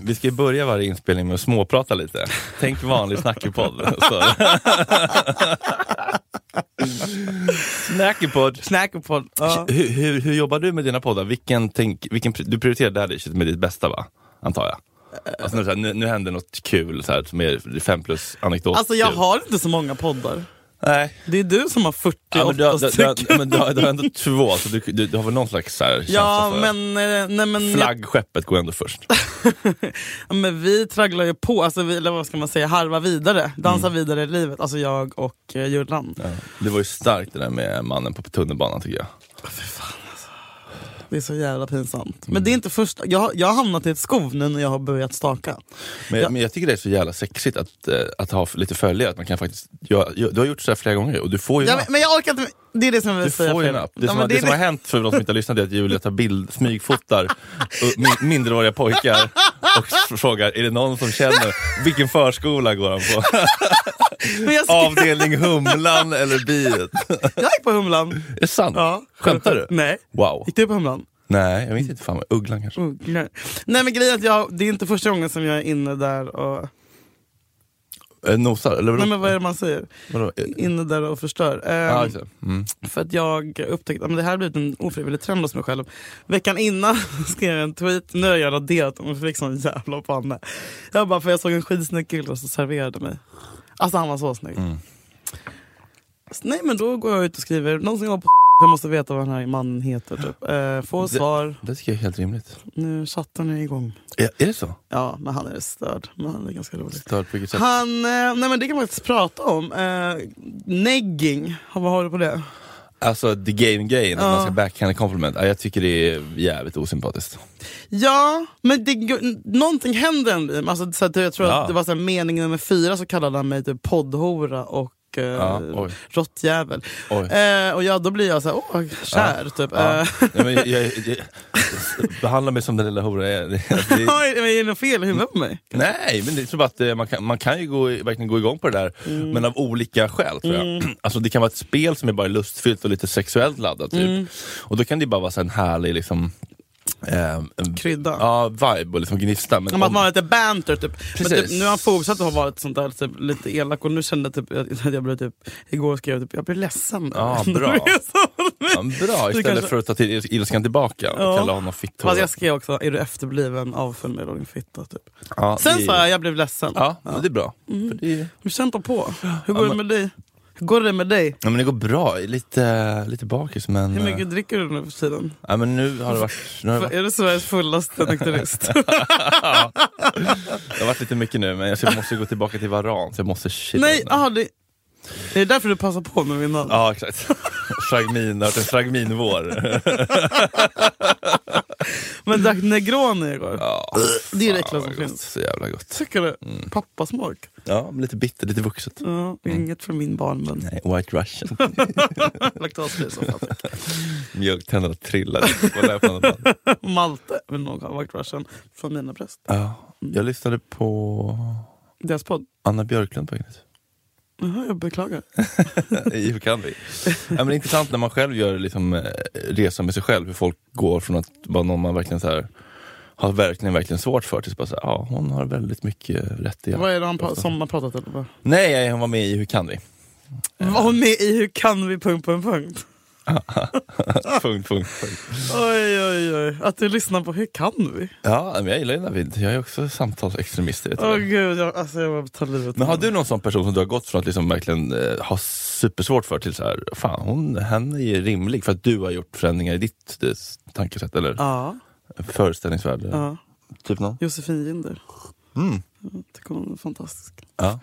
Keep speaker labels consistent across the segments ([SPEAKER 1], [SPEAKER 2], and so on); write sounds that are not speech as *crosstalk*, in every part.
[SPEAKER 1] vi ska ju börja varje inspelning med att småprata lite. Tänk vanlig
[SPEAKER 2] *laughs*
[SPEAKER 1] snackepodd. Så. snackepodd.
[SPEAKER 2] Snackerpodd. Ja.
[SPEAKER 1] Hur, hur, hur jobbar du med dina poddar? Vilken tänk, vilken, pri- du prioriterar där dish med ditt bästa va? Antar jag.
[SPEAKER 2] Eh,
[SPEAKER 1] Alltså, nu, så här, nu, nu händer något kul, så här, som är fem plus anekdot.
[SPEAKER 2] Alltså jag
[SPEAKER 1] kul.
[SPEAKER 2] har inte så många poddar.
[SPEAKER 1] Nej.
[SPEAKER 2] Det är du som har 48
[SPEAKER 1] Ja, men du, har- du, du,
[SPEAKER 2] stycken.
[SPEAKER 1] har- men du, har- du har ändå två, så du, du, du har väl någon slags så här, känsla
[SPEAKER 2] Ja
[SPEAKER 1] för...
[SPEAKER 2] men, eh, nej, men,
[SPEAKER 1] Flaggskeppet går ändå
[SPEAKER 2] *laughs*
[SPEAKER 1] först.
[SPEAKER 2] ja, men vi tragglar ju på, alltså, vi, eller vad ska man säga, harva vidare. Dansa vidare i livet. Alltså jag och eh, Jullan.
[SPEAKER 1] Mm. Ja. Det var ju starkt det där med mannen på tunnelbanan tycker jag.
[SPEAKER 2] Det är så jävla pinsamt.
[SPEAKER 1] Mm.
[SPEAKER 2] Men det är inte första, jag, jag har hamnat i ett skov nu när jag har börjat staka.
[SPEAKER 1] Men,
[SPEAKER 2] Ja.
[SPEAKER 1] men jag tycker det är så jävla sexigt att, eh, att ha f- lite följare. Att man kan faktiskt, jag, jag, du har gjort så här flera gånger och du får ju
[SPEAKER 2] Ja,
[SPEAKER 1] en
[SPEAKER 2] men,
[SPEAKER 1] app.
[SPEAKER 2] men jag orkar inte, med- det är det som jag vill
[SPEAKER 1] Du
[SPEAKER 2] säga.
[SPEAKER 1] får ju en
[SPEAKER 2] Fredrik.
[SPEAKER 1] app. Det
[SPEAKER 2] Ja,
[SPEAKER 1] som,
[SPEAKER 2] men
[SPEAKER 1] har- det som har hänt för de som inte har lyssnat är att Julia tar bild,
[SPEAKER 2] *laughs*
[SPEAKER 1] smygfotar och min, mindreåriga pojkar och f- frågar är det någon som känner vilken förskola går han på?
[SPEAKER 2] *laughs* men jag, skrev,
[SPEAKER 1] Avdelning Humlan eller Biet?
[SPEAKER 2] jag gick på Humlan.
[SPEAKER 1] Är det sant?
[SPEAKER 2] Ja.
[SPEAKER 1] Skämtar du?
[SPEAKER 2] Nej.
[SPEAKER 1] Wow.
[SPEAKER 2] Gick du på Humlan?
[SPEAKER 1] Nej, jag vet inte. Fan, Ugglan kanske?
[SPEAKER 2] Ugglor. Nej men grejen är att jag, det är inte första gången som jag är inne där och...
[SPEAKER 1] Eh, Nosar? Eller vadå?
[SPEAKER 2] Nej men vad Ehm. är det man säger?
[SPEAKER 1] vadå? Eh,
[SPEAKER 2] Inne där och förstör. Ehm,
[SPEAKER 1] ah, just det. Mm.
[SPEAKER 2] för att jag upptäckte att det här har blivit en ofrivillig trend hos mig själv. Veckan innan *laughs* skrev jag en tweet, nu har jag raderat dem, jag fick sån jävla panna. Jag bara, för jag såg en skitsnygg kille som serverade mig. Alltså han var så snygg.
[SPEAKER 1] Mm.
[SPEAKER 2] Så, nej men då går jag ut och skriver, någon som jobbar på *laughs* jag måste veta vad den här mannen heter. Typ. Eh, får
[SPEAKER 1] Det-
[SPEAKER 2] svar,
[SPEAKER 1] Det tycker jag är helt rimligt.
[SPEAKER 2] nu chatten är igång.
[SPEAKER 1] Är, är det så?
[SPEAKER 2] Ja, men han är störd. Men han är ganska rolig.
[SPEAKER 1] Stört på vilket sätt?
[SPEAKER 2] Han, eh, nej men det kan man faktiskt prata om. Eh, negging, vad har du på det?
[SPEAKER 1] Alltså the game grejen, att
[SPEAKER 2] Ja.
[SPEAKER 1] man ska backhand compliment. Ja, Jag tycker det är jävligt osympatiskt.
[SPEAKER 2] Ja, men det, någonting händer ändå. Alltså, så att, jag tror
[SPEAKER 1] Ja.
[SPEAKER 2] att det var så här, mening nummer fyra så kallade han mig typ poddhora och eh,
[SPEAKER 1] Ja, oj.
[SPEAKER 2] råttjävel.
[SPEAKER 1] Oj.
[SPEAKER 2] Eh, och ja, då blir jag så här, åh, kär typ.
[SPEAKER 1] Ja.
[SPEAKER 2] Eh, *laughs*
[SPEAKER 1] Nej, men jag, jag, jag, behandla mig som den lilla horan jag är. Det- det-
[SPEAKER 2] Oj, men är det något fel i huvudet på mig?
[SPEAKER 1] Nej, men det är så bara att eh, man kan, man kan ju gå, i- verkligen gå igång på det där,
[SPEAKER 2] Mm.
[SPEAKER 1] men av olika skäl tror jag. Alltså, det kan vara ett spel som är bara lustfyllt och lite sexuellt laddat. Typ.
[SPEAKER 2] Mm.
[SPEAKER 1] Och då kan det ju bara vara så här en härlig liksom, ehm, en-
[SPEAKER 2] Krydda.
[SPEAKER 1] Ja, vibe och liksom gnista. Men
[SPEAKER 2] Om att
[SPEAKER 1] om-
[SPEAKER 2] man har lite banter typ. Men
[SPEAKER 1] Precis.
[SPEAKER 2] typ, nu har han fortsatt att vara ett sånt där typ, lite elak och nu kände jag typ, *laughs* att att jag blev typ, igår skrev jag typ, jag blir ledsen. *laughs*
[SPEAKER 1] Ja,
[SPEAKER 2] Då
[SPEAKER 1] bra.
[SPEAKER 2] blev jag så-
[SPEAKER 1] ja, bra, istället
[SPEAKER 2] kanske-
[SPEAKER 1] för att ta till il- ilskan tillbaka och
[SPEAKER 2] Ja.
[SPEAKER 1] kalla honom fitthora.
[SPEAKER 2] Fast jag skrev också, är du efterbliven, avfölj mig då din fitta. Typ.
[SPEAKER 1] Ja,
[SPEAKER 2] Sen
[SPEAKER 1] det-
[SPEAKER 2] sa jag, jag blev ledsen.
[SPEAKER 1] Ja, men det är bra. För det är...
[SPEAKER 2] Du kämpar på. Hur går
[SPEAKER 1] Ja,
[SPEAKER 2] det
[SPEAKER 1] men-
[SPEAKER 2] med dig? Hur går det med dig?
[SPEAKER 1] Ja, men det går bra, Jag är lite, lite bakis men,
[SPEAKER 2] Hur
[SPEAKER 1] eh,
[SPEAKER 2] mycket dricker du nu för tiden?
[SPEAKER 1] ja, men nu har det varit, nu har det varit,
[SPEAKER 2] Är du Sveriges fullaste
[SPEAKER 1] *laughs*
[SPEAKER 2] nykterist?
[SPEAKER 1] det har varit lite mycket nu men jag ska- måste gå tillbaka till Varan så jag måste chilla.
[SPEAKER 2] Nej, ah.
[SPEAKER 1] innan.
[SPEAKER 2] aha, det... Är det därför du passar på nu innan?
[SPEAKER 1] Ja exakt. Fragmin, det har varit en fragminvår.
[SPEAKER 2] Men drack Negroni igår.
[SPEAKER 1] Ja,
[SPEAKER 2] Det är
[SPEAKER 1] fan,
[SPEAKER 2] det äckligaste som
[SPEAKER 1] vad gott. Mm.
[SPEAKER 2] finns.
[SPEAKER 1] Så jävla gott.
[SPEAKER 2] Tycker du? Pappasmak.
[SPEAKER 1] Ja, men lite bitter, lite vuxet.
[SPEAKER 2] Ja, Inget från min barnmun.
[SPEAKER 1] Mm.
[SPEAKER 2] *laughs*
[SPEAKER 1] Nej, White Russian.
[SPEAKER 2] Laktasfri i så fall. *laughs*
[SPEAKER 1] Mjölktänderna trillar. Kolla på något annat.
[SPEAKER 2] Malte vill nog ha White Russian från mina bröst.
[SPEAKER 1] ja, jag lyssnade på
[SPEAKER 2] Deras podd.
[SPEAKER 1] Anna Björklund på Ygnet.
[SPEAKER 2] Jaha, jag beklagar.
[SPEAKER 1] Hur kan vi? Ja, men det är intressant när man själv gör liksom, eh, resan med sig själv, hur folk går från att vara någon man verkligen så här, har verkligen, verkligen svårt för till att bara så här, ja, hon har väldigt mycket rätt i allt."
[SPEAKER 2] Vad är det han pra- som har pratat eller vad?
[SPEAKER 1] Nej, nej, hon var med i Hur kan vi? *laughs*
[SPEAKER 2] Var hon med i Hur kan vi? punkt, punkt, punkt?
[SPEAKER 1] punkt, punkt, punkt.
[SPEAKER 2] Oj, oj, oj. Att du lyssnar på Hur kan vi?
[SPEAKER 1] Ja, men jag gillar ju Navid. Jag är också samtalsextremist. Vet du.
[SPEAKER 2] Åh gud, jag, alltså jag bara tar livet
[SPEAKER 1] Men har
[SPEAKER 2] av
[SPEAKER 1] du någon sån person som du har gått från att liksom verkligen eh, ha supersvårt för till så här, fan hon, henne är rimlig för att du har gjort förändringar i ditt eh, tankesätt eller
[SPEAKER 2] Ja,
[SPEAKER 1] föreställningsvärld?
[SPEAKER 2] ja.
[SPEAKER 1] Typ någon?
[SPEAKER 2] Josefin Ginder.
[SPEAKER 1] Mm.
[SPEAKER 2] Jag tycker hon är fantastisk.
[SPEAKER 1] Ja.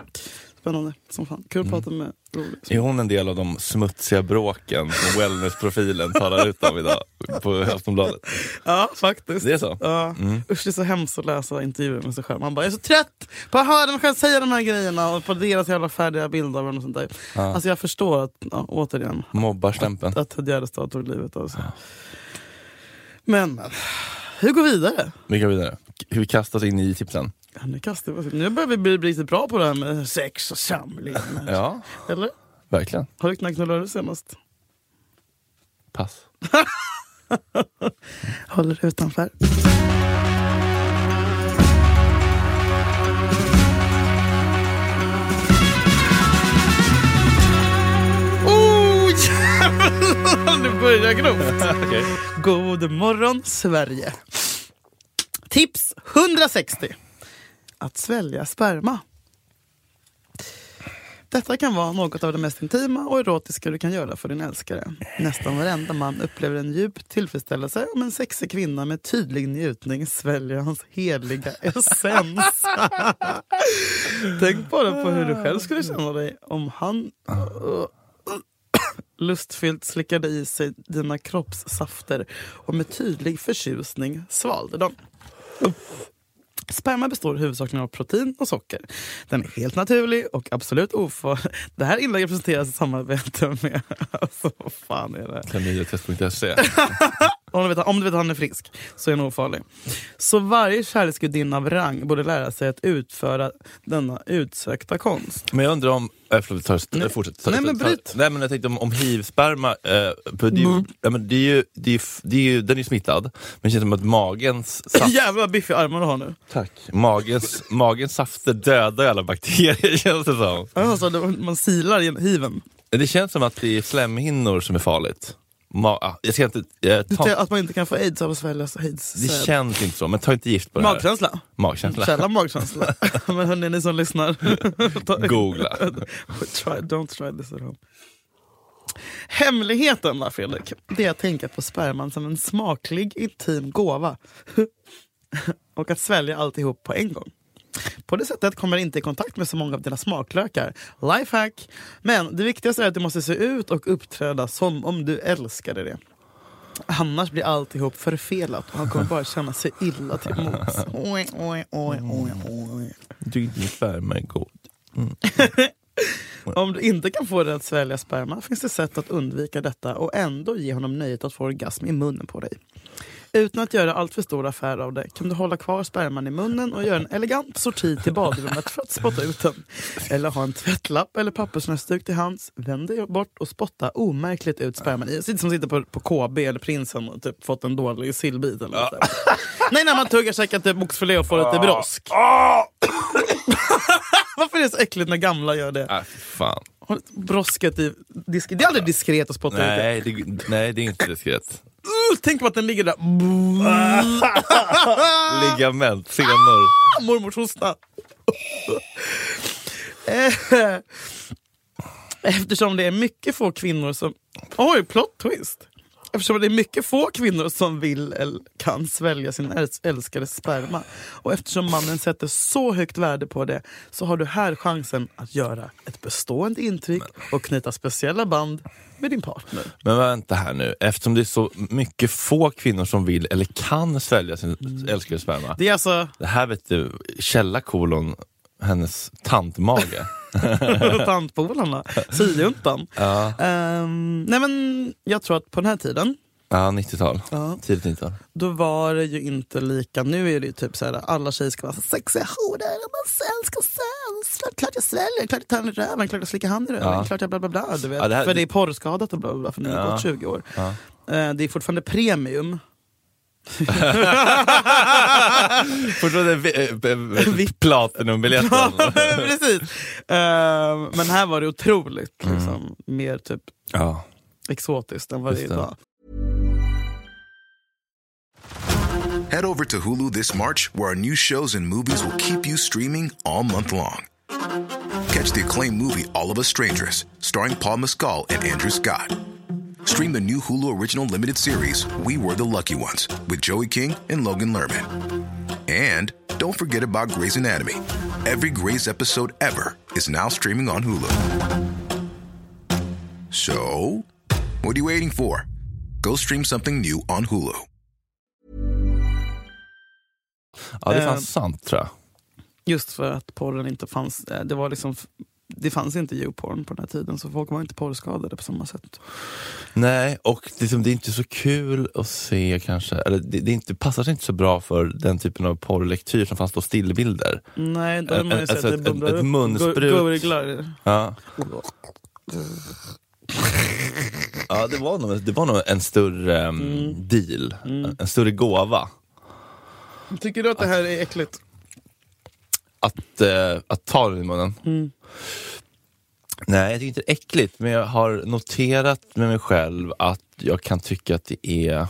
[SPEAKER 2] Spännande som fan. Kul att prata med. Rolig.
[SPEAKER 1] Är hon en del av de smutsiga bråken som wellnessprofilen talar ut om idag på Aftonbladet?
[SPEAKER 2] Ja, Mm. faktiskt.
[SPEAKER 1] Det är så?
[SPEAKER 2] Ja. Usch, det är så hemskt att läsa intervjuer med sig själv. Man bara, jag är så trött på att höra mig själv säga de här grejerna och på deras jävla färdiga bild av en och sånt där. Alltså jag förstår att, ja, återigen,
[SPEAKER 1] Mobbarstämpeln.
[SPEAKER 2] att Ted Gärdestad tog livet av sig. alltså. Men, men, hur går vi vidare?
[SPEAKER 1] Vi går vidare. Hur vi kastas in i tipsen.
[SPEAKER 2] Ja, nu, kastar vi oss. nu börjar vi bli bli riktigt bra på det här med sex och samlevnad.
[SPEAKER 1] *laughs* Ja,
[SPEAKER 2] Eller?
[SPEAKER 1] verkligen.
[SPEAKER 2] Har du knäckt senast?
[SPEAKER 1] Pass.
[SPEAKER 2] Håller det utanför. Oh, jävlar! Nu börjar jag
[SPEAKER 1] *laughs*
[SPEAKER 2] grovt.
[SPEAKER 1] Okej.
[SPEAKER 2] God morgon Sverige. Tips 160. Att svälja sperma. Detta kan vara något av det mest intima och erotiska du kan göra för din älskare. Nästan varenda man upplever en djup tillfredsställelse om en sexig kvinna med tydlig njutning sväljer hans heliga essens. Tänk bara på hur du själv skulle känna dig om han uh, lustfyllt slickade i sig dina kroppssafter och med tydlig förtjusning svalde dem. Sperma består huvudsakligen av protein och socker. Den är helt naturlig och absolut ofarlig. Det här inlägget presenteras i samarbete med... Alltså, vad fan är det?
[SPEAKER 1] *laughs* Klamydiatest.se.
[SPEAKER 2] Om du, vet, om du vet att han är frisk så är han ofarlig. Så varje kärleksgudinna av rang borde lära sig att utföra denna utsökta konst.
[SPEAKER 1] Men jag undrar om... Äh, förlåt, ta,
[SPEAKER 2] Nej.
[SPEAKER 1] nej. fortsätt. Ta,
[SPEAKER 2] Nej,
[SPEAKER 1] ta-
[SPEAKER 2] men
[SPEAKER 1] ta-
[SPEAKER 2] bryt.
[SPEAKER 1] Nej, men jag tänkte om, om hivsperma, eh, för det är ju, ja, men det är ju, det är ju, f- det är ju, den är ju smittad, men det känns som att magens, saft,
[SPEAKER 2] Jävlar vad biffiga armar du har nu.
[SPEAKER 1] tack, magens, magens safter dödar alla bakterier *laughs* känns det som.
[SPEAKER 2] Alltså, det- man silar i hiven.
[SPEAKER 1] Det känns som att det är slemhinnor som är farligt. Ma- ah, jag ska inte, eh,
[SPEAKER 2] Du
[SPEAKER 1] ta,
[SPEAKER 2] tror att man inte kan få aids av att svälja aids
[SPEAKER 1] det känns inte så, men ta inte gift på det här.
[SPEAKER 2] Magkänsla.
[SPEAKER 1] Magkänsla.
[SPEAKER 2] Källa *laughs* magkänsla. Men hörni, ni som lyssnar. *laughs* ta-
[SPEAKER 1] Googla.
[SPEAKER 2] *laughs* try, don't try this at home. Hemligheten va, Fredrik, det är att tänka på sperman som en smaklig intim gåva. *laughs* Och att svälja alltihop på en gång. På det sättet kommer du inte i kontakt med så många av dina smaklökar. Lifehack! Men det viktigaste är att du måste se ut och uppträda som om du älskade det. Annars blir alltihop förfelat och han kommer bara känna sig illa till mods. Oj, oj, oj, oj, oj.
[SPEAKER 1] Tycker inte min sperma är god.
[SPEAKER 2] Om du inte kan få dig att svälja sperma finns det sätt att undvika detta och ändå ge honom nöjet att få orgasm i munnen på dig. Utan att göra allt för stor affär av det kan du hålla kvar sperman i munnen och göra en elegant sorti till badrummet för att spotta ut den. Eller ha en tvättlapp eller pappersnäsduk till hands. Vänd dig bort och spotta omärkligt ut sperman i. Sitt som sitter på, på KB eller Prinsen och typ fått en dålig sillbit eller något sånt. Nej, när man tuggar käkat typ oxfilé och får lite brosk. *laughs* Varför är det så äckligt när gamla gör det?
[SPEAKER 1] Ah, fy fan.
[SPEAKER 2] Har du brosket i diskret. Det är aldrig diskret att spotta ut det.
[SPEAKER 1] Nej, det, nej, det är inte diskret.
[SPEAKER 2] Uh, tänk på att den ligger där. Ah,
[SPEAKER 1] Ligament, senor.
[SPEAKER 2] Mormors hosta. Eh, Eftersom det är mycket få kvinnor som... Oj, plot twist! Eftersom det är mycket få kvinnor som vill eller kan svälja sin äls- älskades sperma och eftersom mannen sätter så högt värde på det så har du här chansen att göra ett bestående intryck och knyta speciella band med din partner.
[SPEAKER 1] Men vänta här nu, eftersom det är så mycket få kvinnor som vill eller kan svälja sin älskade sperma. Det,
[SPEAKER 2] Det är alltså
[SPEAKER 1] här vet du, källa kolon hennes
[SPEAKER 2] *laughs*
[SPEAKER 1] tantmage.
[SPEAKER 2] tantpolarna, syjuntan.
[SPEAKER 1] ja,
[SPEAKER 2] Ehm, nej men jag tror att på den här tiden,
[SPEAKER 1] ja 90-tal.
[SPEAKER 2] Ja.
[SPEAKER 1] Tidigt 90-tal.
[SPEAKER 2] då var det ju inte lika, nu är det ju typ såhär, alla tjejer ska vara så sexiga horor, och man sen ska sen, klart jag sväljer, klart jag tar en i röven, klart jag slickar hand i röven,
[SPEAKER 1] Ja.
[SPEAKER 2] klart jag bla bla bla. Du vet.
[SPEAKER 1] Ja, det här-
[SPEAKER 2] för det är porrskadat och bla bla bla, för nu har det
[SPEAKER 1] Ja.
[SPEAKER 2] gått 20 år.
[SPEAKER 1] Ja.
[SPEAKER 2] Eh, det är
[SPEAKER 1] *laughs*
[SPEAKER 2] fortfarande premium. *laughs*
[SPEAKER 1] *laughs* Fortfarande vi- eh, eh, platinumbiljetten.
[SPEAKER 2] Precis. Ehm, men här var det otroligt,
[SPEAKER 1] Mm.
[SPEAKER 2] liksom, mer typ
[SPEAKER 1] ja.
[SPEAKER 2] exotiskt än vad det är
[SPEAKER 1] Just det.
[SPEAKER 2] idag.
[SPEAKER 3] Head over to Hulu this March, where our new shows and movies will keep you streaming all month long. Catch the acclaimed movie All of Us Strangers, starring Paul Mescal and Andrew Scott. Stream the new Hulu original limited series We Were the Lucky Ones with Joey King and Logan Lerman. And don't forget about Grey's Anatomy. Every Grey's episode ever is now streaming on Hulu. So, what are you waiting for? Go stream something new on Hulu.
[SPEAKER 1] ja, det är fan
[SPEAKER 2] Eh.
[SPEAKER 1] sant tror jag.
[SPEAKER 2] Just för att porren inte fanns. eh, Det var liksom f- det fanns inte djurporn på den här tiden så folk var inte porrskadade på samma sätt.
[SPEAKER 1] Nej, och liksom, det är inte så kul att se kanske, eller det, det är inte, passar sig inte så bra för den typen av porrlektyr som fanns då, stillbilder.
[SPEAKER 2] Nej, då hade man ju
[SPEAKER 1] Alltså
[SPEAKER 2] sett att det
[SPEAKER 1] ett- ett-
[SPEAKER 2] bubblar
[SPEAKER 1] ett
[SPEAKER 2] upp.
[SPEAKER 1] munsprut.
[SPEAKER 2] gur- Gurglar.
[SPEAKER 1] Ja. Ja, det var nog, det var nog en större em, deal, En, en större gåva.
[SPEAKER 2] Tycker du att det här är äckligt?
[SPEAKER 1] Att, eh, att ta den i munnen.
[SPEAKER 2] Mm.
[SPEAKER 1] Nej, jag tycker inte det är äckligt, men jag har noterat med mig själv att jag kan tycka att det är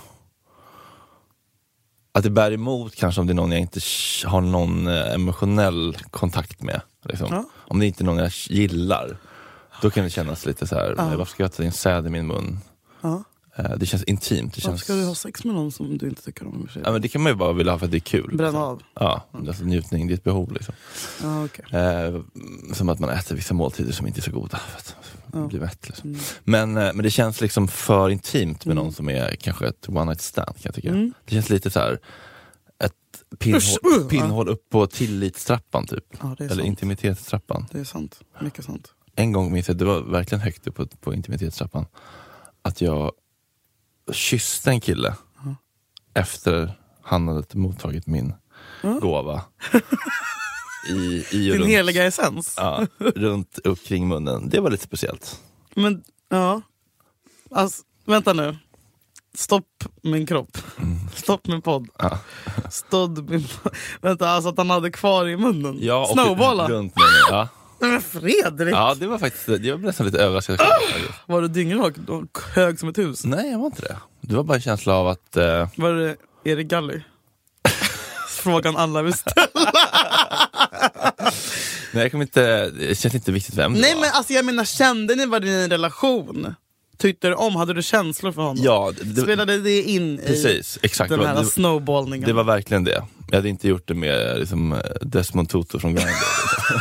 [SPEAKER 1] att det bär emot kanske om det är någon jag inte sh- har någon eh, emotionell kontakt med. Liksom.
[SPEAKER 2] Ja.
[SPEAKER 1] Om det inte är någon jag gillar, då kan det kännas lite så här, varför ska jag ta in säd i min mun?
[SPEAKER 2] Ja.
[SPEAKER 1] Eh, Det känns intimt. Det,
[SPEAKER 2] Varför
[SPEAKER 1] känns...
[SPEAKER 2] ska du ha sex med någon som du inte tycker om? i och för sig?
[SPEAKER 1] ja, men det kan man ju bara vilja ha för att det är kul.
[SPEAKER 2] Bränna av?
[SPEAKER 1] Ja, alltså njutning, det är ett behov. Liksom.
[SPEAKER 2] Ja, okej.
[SPEAKER 1] Eh, som att man äter vissa måltider som inte är så goda. För att man blir mätt, liksom.
[SPEAKER 2] Mm.
[SPEAKER 1] men, eh, men det känns liksom för intimt med
[SPEAKER 2] Mm.
[SPEAKER 1] någon som är kanske ett one night stand. Kan jag tycka.
[SPEAKER 2] Mm.
[SPEAKER 1] Det känns lite så här ett
[SPEAKER 2] Usch,
[SPEAKER 1] pinnhål,
[SPEAKER 2] uh,
[SPEAKER 1] pinnhål upp på tillitstrappan typ.
[SPEAKER 2] Ja, det är
[SPEAKER 1] Eller
[SPEAKER 2] sant.
[SPEAKER 1] intimitetstrappan.
[SPEAKER 2] Det är sant. Mycket sant.
[SPEAKER 1] En gång minns jag, det var verkligen högt upp på, på intimitetstrappan, att jag kysste en kille efter han hade mottagit min
[SPEAKER 2] *laughs*
[SPEAKER 1] gåva. I, i och
[SPEAKER 2] Din
[SPEAKER 1] runt,
[SPEAKER 2] heliga essens.
[SPEAKER 1] ja, runt upp kring munnen. Det var lite speciellt.
[SPEAKER 2] Men, ja. Alltså, vänta nu. Stopp min kropp. Stopp min podd.
[SPEAKER 1] Ja.
[SPEAKER 2] Stodd min podd. Vänta, alltså att han hade kvar i munnen?
[SPEAKER 1] Ja, och
[SPEAKER 2] Snowballa?
[SPEAKER 1] Runt munnen, ja.
[SPEAKER 2] Nej, men
[SPEAKER 1] *laughs*
[SPEAKER 2] Fredrik!
[SPEAKER 1] ja, det var faktiskt, jag blev nästan lite överraskad. själv.
[SPEAKER 2] Var du dyngrak och hög som ett hus?
[SPEAKER 1] Nej, jag var inte det. Det var bara en känsla av att eh,
[SPEAKER 2] Var det Erik *laughs* Galli? Frågan alla vill ställa.
[SPEAKER 1] nej, jag kom inte, det känns inte viktigt vem det
[SPEAKER 2] Nej
[SPEAKER 1] var.
[SPEAKER 2] men alltså jag menar, kände ni vad din relation? Tyckte du om? Hade du känslor för honom?
[SPEAKER 1] ja, det,
[SPEAKER 2] Spelade det in i
[SPEAKER 1] precis, exakt.
[SPEAKER 2] den
[SPEAKER 1] Det var-
[SPEAKER 2] här
[SPEAKER 1] det-
[SPEAKER 2] snowballningen?
[SPEAKER 1] Det var verkligen det. Jag hade inte gjort det med liksom, eh, Desmond Tutu från Grindr. *laughs*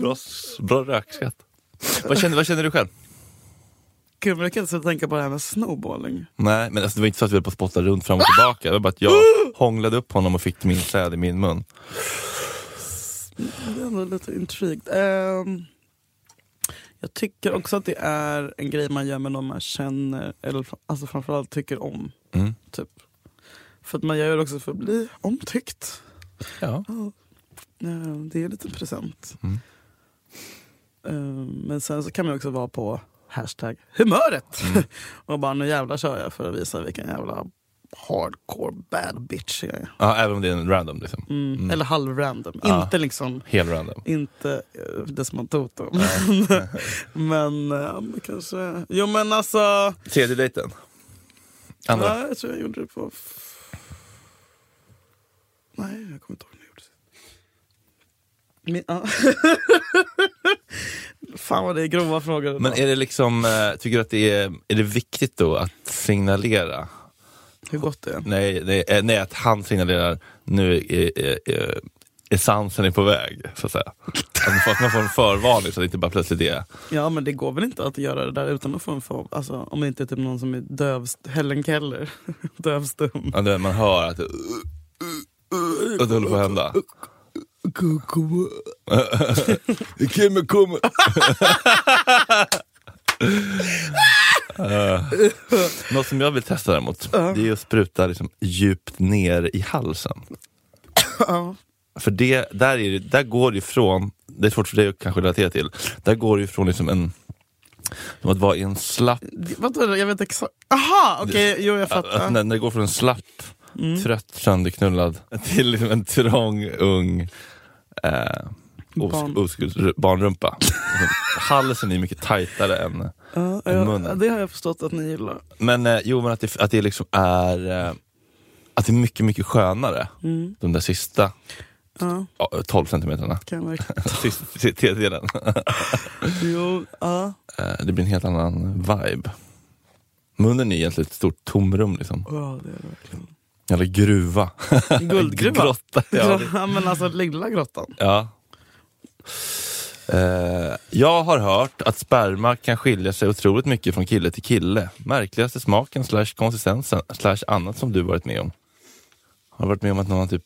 [SPEAKER 1] bra, bra rökskatt. Vad känner, vad känner du själv?
[SPEAKER 2] Gud, men jag kan inte sluta tänka på det här med snowballing.
[SPEAKER 1] Nej, men alltså, det var inte så att vi höll på att spotta runt fram och tillbaka. Det var bara *gasps* att jag hånglade upp honom och fick min säd i min mun.
[SPEAKER 2] Jag är ändå lite intrigued. Ehm, jag tycker också att det är en grej man gör med någon man känner, eller fr- alltså framförallt tycker om.
[SPEAKER 1] Mm.
[SPEAKER 2] Typ. För att man gör det också för att bli omtyckt.
[SPEAKER 1] Ja.
[SPEAKER 2] Ehm, det är ju en liten present.
[SPEAKER 1] Mm.
[SPEAKER 2] Ehm, men sen så kan man också vara på hashtag humöret.
[SPEAKER 1] Mm.
[SPEAKER 2] *laughs* och bara nu jävlar kör jag för att visa vilken jävla hardcore bad bitch jag är.
[SPEAKER 1] ja, även om det är en random. Liksom.
[SPEAKER 2] Mm. Eller halvrandom.
[SPEAKER 1] Ja.
[SPEAKER 2] Inte liksom
[SPEAKER 1] Helt random.
[SPEAKER 2] Inte eh, Desmond Tutu. Men, *laughs* men eh, men kanske... Jo men alltså...
[SPEAKER 1] Tredje dejten. Andra.
[SPEAKER 2] Nej, jag tror jag gjorde det på... f- Nej, jag kommer inte ihåg när jag gjorde det. Min, ja. *laughs* Fan vad det är grova frågor. idag.
[SPEAKER 1] Men är det liksom, eh, tycker du att det är, är det viktigt då att signalera?
[SPEAKER 2] Hur gott det är.
[SPEAKER 1] Nej, nej, eh, nej att han signalerar, nu är, är, är, essensen är på väg, så att säga. Att man får, att man får en förvarning så att det inte bara plötsligt är...
[SPEAKER 2] Ja men det går väl inte att göra det där utan att få en form. Alltså om det inte är typ någon som är dövst. Helen Keller. *laughs* Dövstum.
[SPEAKER 1] Ja, det- man hör att det, att det håller på att hända. Kimmy kommer! Eh, Något som jag vill testa däremot, det är att spruta liksom djupt ner i halsen.
[SPEAKER 2] Ja.
[SPEAKER 1] För det, där, är det, där går det ifrån, det är svårt för dig att kanske relatera till, där går det ifrån liksom en, som att vara i en slapp,
[SPEAKER 2] Vadå, jag vet exakt. Aha, okej, jo jag
[SPEAKER 1] att
[SPEAKER 2] fattar.
[SPEAKER 1] alltså, när när det går från en slapp, trött, sönderknullad till liksom en trång, ung eh, os,
[SPEAKER 2] Barn.
[SPEAKER 1] oskuld, barnrumpa. *laughs* Halsen är mycket tajtare än...
[SPEAKER 2] Ja,
[SPEAKER 1] än
[SPEAKER 2] ja,
[SPEAKER 1] munnen.
[SPEAKER 2] det har jag förstått att ni gillar.
[SPEAKER 1] Men eh, jo, men att det, att det liksom är eh, att det är mycket, mycket skönare, de där sista
[SPEAKER 2] Ja,
[SPEAKER 1] ja, 12 centimeterna.
[SPEAKER 2] kan jag
[SPEAKER 1] *laughs*
[SPEAKER 2] verkligen.
[SPEAKER 1] Sista tredjedelen.
[SPEAKER 2] Jo, ja.
[SPEAKER 1] Eh, Det blir en helt annan vibe. Munnen är egentligen ett stort tomrum, liksom.
[SPEAKER 2] ja, det är det verkligen.
[SPEAKER 1] eller gruva.
[SPEAKER 2] Guldgruva.
[SPEAKER 1] Grotta. Ja.
[SPEAKER 2] Ja, men alltså lilla grottan.
[SPEAKER 1] ja. Eh, jag har hört att sperma kan skilja sig otroligt mycket från kille till kille. Märkligaste smaken slash konsistensen slash annat som du varit med om. Har du varit med om att någon har typ...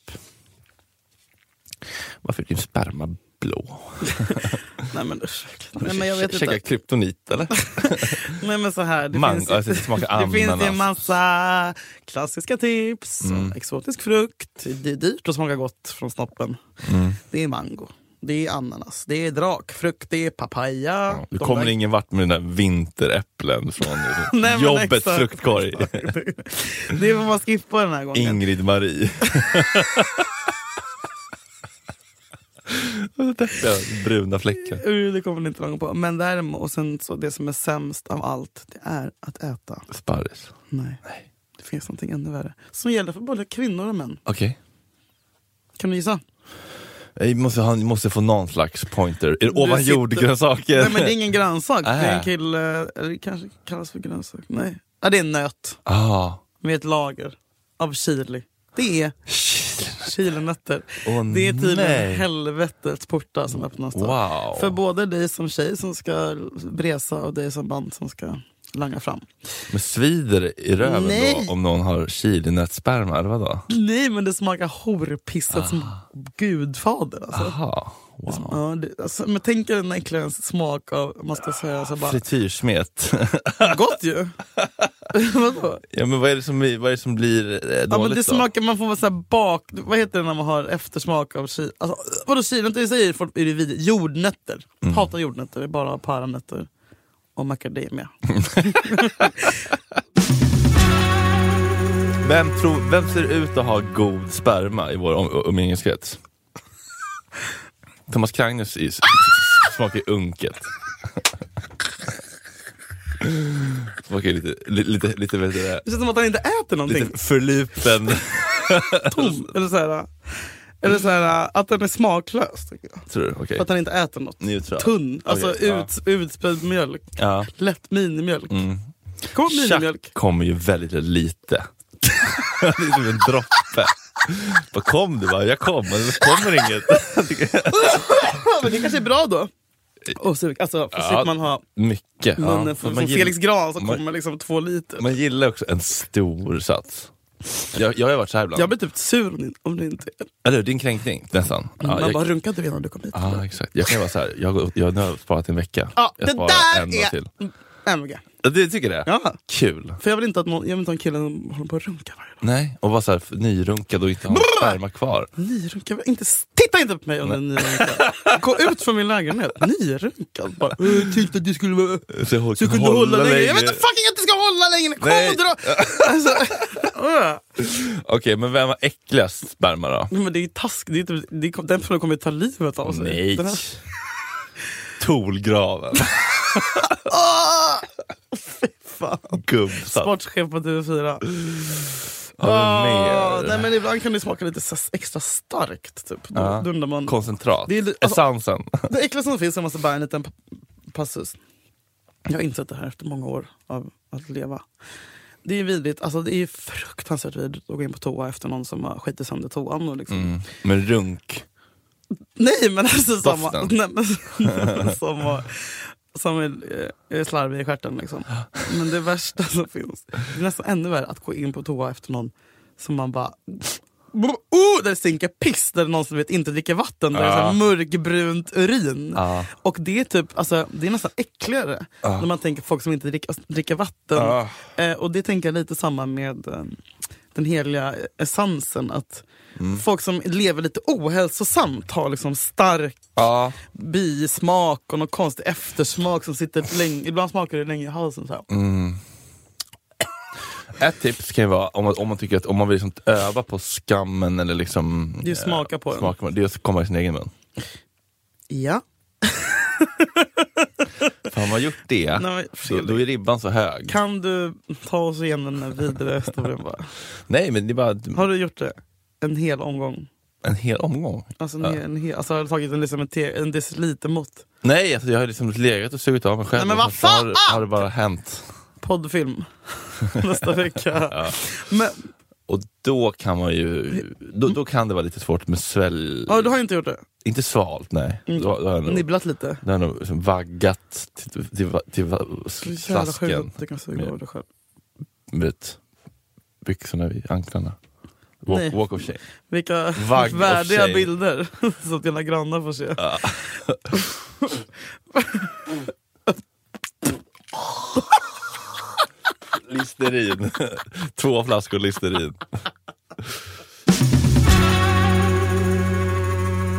[SPEAKER 1] Varför är din sperma blå?
[SPEAKER 2] Nej men usch. Nej men jag vet
[SPEAKER 1] Käkar
[SPEAKER 2] inte.
[SPEAKER 1] kryptonit eller?
[SPEAKER 2] Nej men så här. Det
[SPEAKER 1] Mango,
[SPEAKER 2] finns,
[SPEAKER 1] alltså, det smakar
[SPEAKER 2] *laughs* det finns ju en
[SPEAKER 1] ananas. Mm.
[SPEAKER 2] massa klassiska tips. Exotisk frukt. Det är dyrt och smakar gott från snoppen.
[SPEAKER 1] Mm.
[SPEAKER 2] Det är mango. Det är ananas. Det är drakfrukt. Det är papaya.
[SPEAKER 1] Ja, Du
[SPEAKER 2] De
[SPEAKER 1] kommer
[SPEAKER 2] där-
[SPEAKER 1] ingen vart med dina vinteräpplen
[SPEAKER 2] *laughs*
[SPEAKER 1] från liksom,
[SPEAKER 2] Nej, men
[SPEAKER 1] jobbets
[SPEAKER 2] exakt.
[SPEAKER 1] fruktkorg.
[SPEAKER 2] *laughs* Det får man skippa den här gången.
[SPEAKER 1] Ingrid
[SPEAKER 2] *laughs*
[SPEAKER 1] Marie. Vad deppiga Bruna fläckar.
[SPEAKER 2] Uh, Det kommer ni inte långt på. Men däremot, och sen så det som är sämst av allt, det är att äta.
[SPEAKER 1] Sparris.
[SPEAKER 2] Nej. Det finns någonting ännu värre. Som gäller för både kvinnor och män.
[SPEAKER 1] Okej.
[SPEAKER 2] Kan
[SPEAKER 1] *laughs*
[SPEAKER 2] du gissa?
[SPEAKER 1] Jag måste, han måste få någon slags pointer. Är det ovan
[SPEAKER 2] sitter-
[SPEAKER 1] jord-grönsaker?
[SPEAKER 2] Nej men det är ingen grönsak. Det är en
[SPEAKER 1] Äh.
[SPEAKER 2] kille, eller det kanske kallas för grönsak. Nej. Ja, det är en nöt
[SPEAKER 1] Ah.
[SPEAKER 2] med ett lager av chili. Det är chilinötter.
[SPEAKER 1] Åh,
[SPEAKER 2] det är tydligen
[SPEAKER 1] nej.
[SPEAKER 2] helvetets portar som öppnas. då.
[SPEAKER 1] Wow.
[SPEAKER 2] För både dig som tjej som ska bresa och dig som man som ska langa fram.
[SPEAKER 1] Men svider det i röven
[SPEAKER 2] Nej.
[SPEAKER 1] då om någon har chilinötssperma, eller vadå?
[SPEAKER 2] Nej men det smakar horpisset som gudfader. Alltså.
[SPEAKER 1] Aha. Ah. Wow.
[SPEAKER 2] Ja, det, alltså, men tänk er den äckligare smak av, man ska säga så bara,
[SPEAKER 1] Frityrsmet. *laughs*
[SPEAKER 2] gott ju! Vadå?
[SPEAKER 1] ja, men vad är det som, vad är det som blir eh, dåligt
[SPEAKER 2] Ja, men det
[SPEAKER 1] då?
[SPEAKER 2] smakar, man får vara så här bak, vad heter det när man har eftersmak av chili? Alltså, vadå chilinötter i sig är folk- är det vidrigt. Jordnötter.
[SPEAKER 1] Mm.
[SPEAKER 2] Hatar jordnötter, det är bara paranötter
[SPEAKER 1] *laughs*
[SPEAKER 2] och macadamia.
[SPEAKER 1] Vem, tror, vem ser ut att ha god sperma i vår um- umgängeskrets? Thomas Kragnes is smakar unket. Smakar lite, li- lite, lite, vet du det,
[SPEAKER 2] Det känns som att han inte äter någonting.
[SPEAKER 1] lite förlupen.
[SPEAKER 2] Tom. Eller så här, eller så här, att den är smaklös. Tycker jag.
[SPEAKER 1] Tror du? Okej.
[SPEAKER 2] För att han inte äter något.
[SPEAKER 1] Neutral.
[SPEAKER 2] Tunn, alltså
[SPEAKER 1] Okej, ja.
[SPEAKER 2] ut, utspädd mjölk.
[SPEAKER 1] Ja.
[SPEAKER 2] Lätt minimjölk. Kom minimjölk.
[SPEAKER 1] Mm. Tjack kommer ju väldigt lite. *laughs* det är som en droppe. Bara, kom du bara, jag kom, men det kommer
[SPEAKER 2] *laughs*
[SPEAKER 1] inget.
[SPEAKER 2] Ja, men det kanske är bra då. Och sug. Alltså, för
[SPEAKER 1] Eh, Ja.
[SPEAKER 2] slipper man ha
[SPEAKER 1] Mycket. ja.
[SPEAKER 2] munnen full
[SPEAKER 1] Men
[SPEAKER 2] som
[SPEAKER 1] gill-
[SPEAKER 2] Felix Gran som
[SPEAKER 1] man-
[SPEAKER 2] kommer liksom två liter.
[SPEAKER 1] Man gillar också en stor sats. Jag, jag har ju varit så här ibland.
[SPEAKER 2] Jag blir typ sur om det- om det inte...
[SPEAKER 1] Eller hur, det är en kränkning nästan. Ja,
[SPEAKER 2] man
[SPEAKER 1] jag,
[SPEAKER 2] bara, runkade du innan du kom hit?
[SPEAKER 1] ja, exakt. Jag kan ju vara så här, jag, går- jag, nu har jag sparat en vecka.
[SPEAKER 2] Ja,
[SPEAKER 1] jag
[SPEAKER 2] det
[SPEAKER 1] sparar
[SPEAKER 2] där
[SPEAKER 1] en dag
[SPEAKER 2] är-
[SPEAKER 1] till.
[SPEAKER 2] MG.
[SPEAKER 1] Ja, Du tycker det?
[SPEAKER 2] Ja.
[SPEAKER 1] Kul.
[SPEAKER 2] För jag vill inte att någon, jag vill inte ha en kille som håller på och runkar varje dag.
[SPEAKER 1] Nej, och vara så här f- nyrunkad och inte ha sperma kvar.
[SPEAKER 2] Nyrunkad? Inte, s- titta inte på mig om du är nyrunkad. Gå ut från min lägenhet. Nyrunkad bara. "Eh,
[SPEAKER 1] typ
[SPEAKER 2] Tyckte att du skulle vara...
[SPEAKER 1] Så jag
[SPEAKER 2] Så jag kunde hålla längre. Jag vet inte fucking att du ska hålla längre! Kom
[SPEAKER 1] Nej.
[SPEAKER 2] och dra! Alltså, *laughs* öh.
[SPEAKER 1] Okej, men vem var äckligast sperma då?
[SPEAKER 2] Nej, men det är ju task. Det är typ, det är, den personen kommer ju ta livet av sig.
[SPEAKER 1] Nej.
[SPEAKER 2] Den här- *laughs*
[SPEAKER 1] Tolgraven.
[SPEAKER 2] Fan.
[SPEAKER 1] Gubbsatt.
[SPEAKER 2] Sportchef på TV4.
[SPEAKER 1] Har
[SPEAKER 2] Åh,
[SPEAKER 1] du
[SPEAKER 2] Ah, nej,
[SPEAKER 1] mer?
[SPEAKER 2] men ibland kan det smaka lite så- extra starkt. Typ. Då,
[SPEAKER 1] Ja.
[SPEAKER 2] då undrar man.
[SPEAKER 1] Koncentrat.
[SPEAKER 2] Det är li- alltså-
[SPEAKER 1] Essensen.
[SPEAKER 2] Det äckligaste som finns är om man ska bära en liten p- passus. Jag har insett det här efter många år av att leva. Det är vidrigt. Alltså, det är fruktansvärt vidrigt att gå in på toa efter någon som har skitit sönder toan. Och liksom.
[SPEAKER 1] Mm. Men runk.
[SPEAKER 2] Nej men alltså samma,
[SPEAKER 1] Doften.
[SPEAKER 2] nej, men, alltså, *laughs* som, har- som är, eh, är slarvig i stjärten liksom. Men det värsta som finns, det är nästan ännu värre att gå in på toa efter någon som man bara Oh, där det stinker piss, där någon som vet inte dricker vatten, där det är så här
[SPEAKER 1] Ja.
[SPEAKER 2] mörkbrunt urin.
[SPEAKER 1] Ja.
[SPEAKER 2] Och det är, typ, alltså, det är nästan äckligare när man tänker på folk som inte dricker, dricker vatten.
[SPEAKER 1] Ja.
[SPEAKER 2] Eh, och det tänker jag lite samma med eh, den heliga essensen. Att
[SPEAKER 1] Mm.
[SPEAKER 2] folk som lever lite ohälsosamt har liksom stark
[SPEAKER 1] Ja.
[SPEAKER 2] bismak och någon konstig eftersmak som sitter länge. Ibland smakar det länge i halsen. Så här.
[SPEAKER 1] Mm. Ett tips kan ju vara om man, om man tycker att om man vill liksom öva på skammen eller liksom...
[SPEAKER 2] Det är att smaka på den.
[SPEAKER 1] smaka, Det är att komma i sin egen mun.
[SPEAKER 2] Ja.
[SPEAKER 1] För har man gjort det,
[SPEAKER 2] Nej, men
[SPEAKER 1] Ah, så, då är ribban så hög.
[SPEAKER 2] Kan du ta oss igenom den här vidare historien bara?
[SPEAKER 1] Nej men det är bara
[SPEAKER 2] Har du gjort det? En hel omgång?
[SPEAKER 1] en hel omgång.
[SPEAKER 2] Alltså, en, hel- en hel, alltså har du tagit en, liksom en, te, en decilitermått?
[SPEAKER 1] Nej, alltså, jag har liksom legat och sugit av mig själv.
[SPEAKER 2] Nej, men
[SPEAKER 1] och
[SPEAKER 2] vad
[SPEAKER 1] så har,
[SPEAKER 2] fan! *laughs*
[SPEAKER 1] har det bara hänt. *laughs*
[SPEAKER 2] Poddfilm nästa vecka. Men,
[SPEAKER 1] Och då kan man ju, då, då kan det vara lite svårt med svälj...
[SPEAKER 2] Ja, du har Mm. inte gjort det?
[SPEAKER 1] Inte svalt, nej. Då, då har jag nog,
[SPEAKER 2] Nibblat lite?
[SPEAKER 1] då har jag nog liksom vaggat till, till, va- till va-
[SPEAKER 2] Så jävla
[SPEAKER 1] slasken
[SPEAKER 2] sjukt att du kan suga av dig själv.
[SPEAKER 1] med byxorna vid anklarna.
[SPEAKER 2] Nej.
[SPEAKER 1] Walk, walk of shame.
[SPEAKER 2] Vilka
[SPEAKER 1] Vagg och
[SPEAKER 2] värdiga
[SPEAKER 1] tjej.
[SPEAKER 2] bilder *laughs* så att dina grannar får se.
[SPEAKER 1] Listerin. *laughs* Två flaskor Listerin.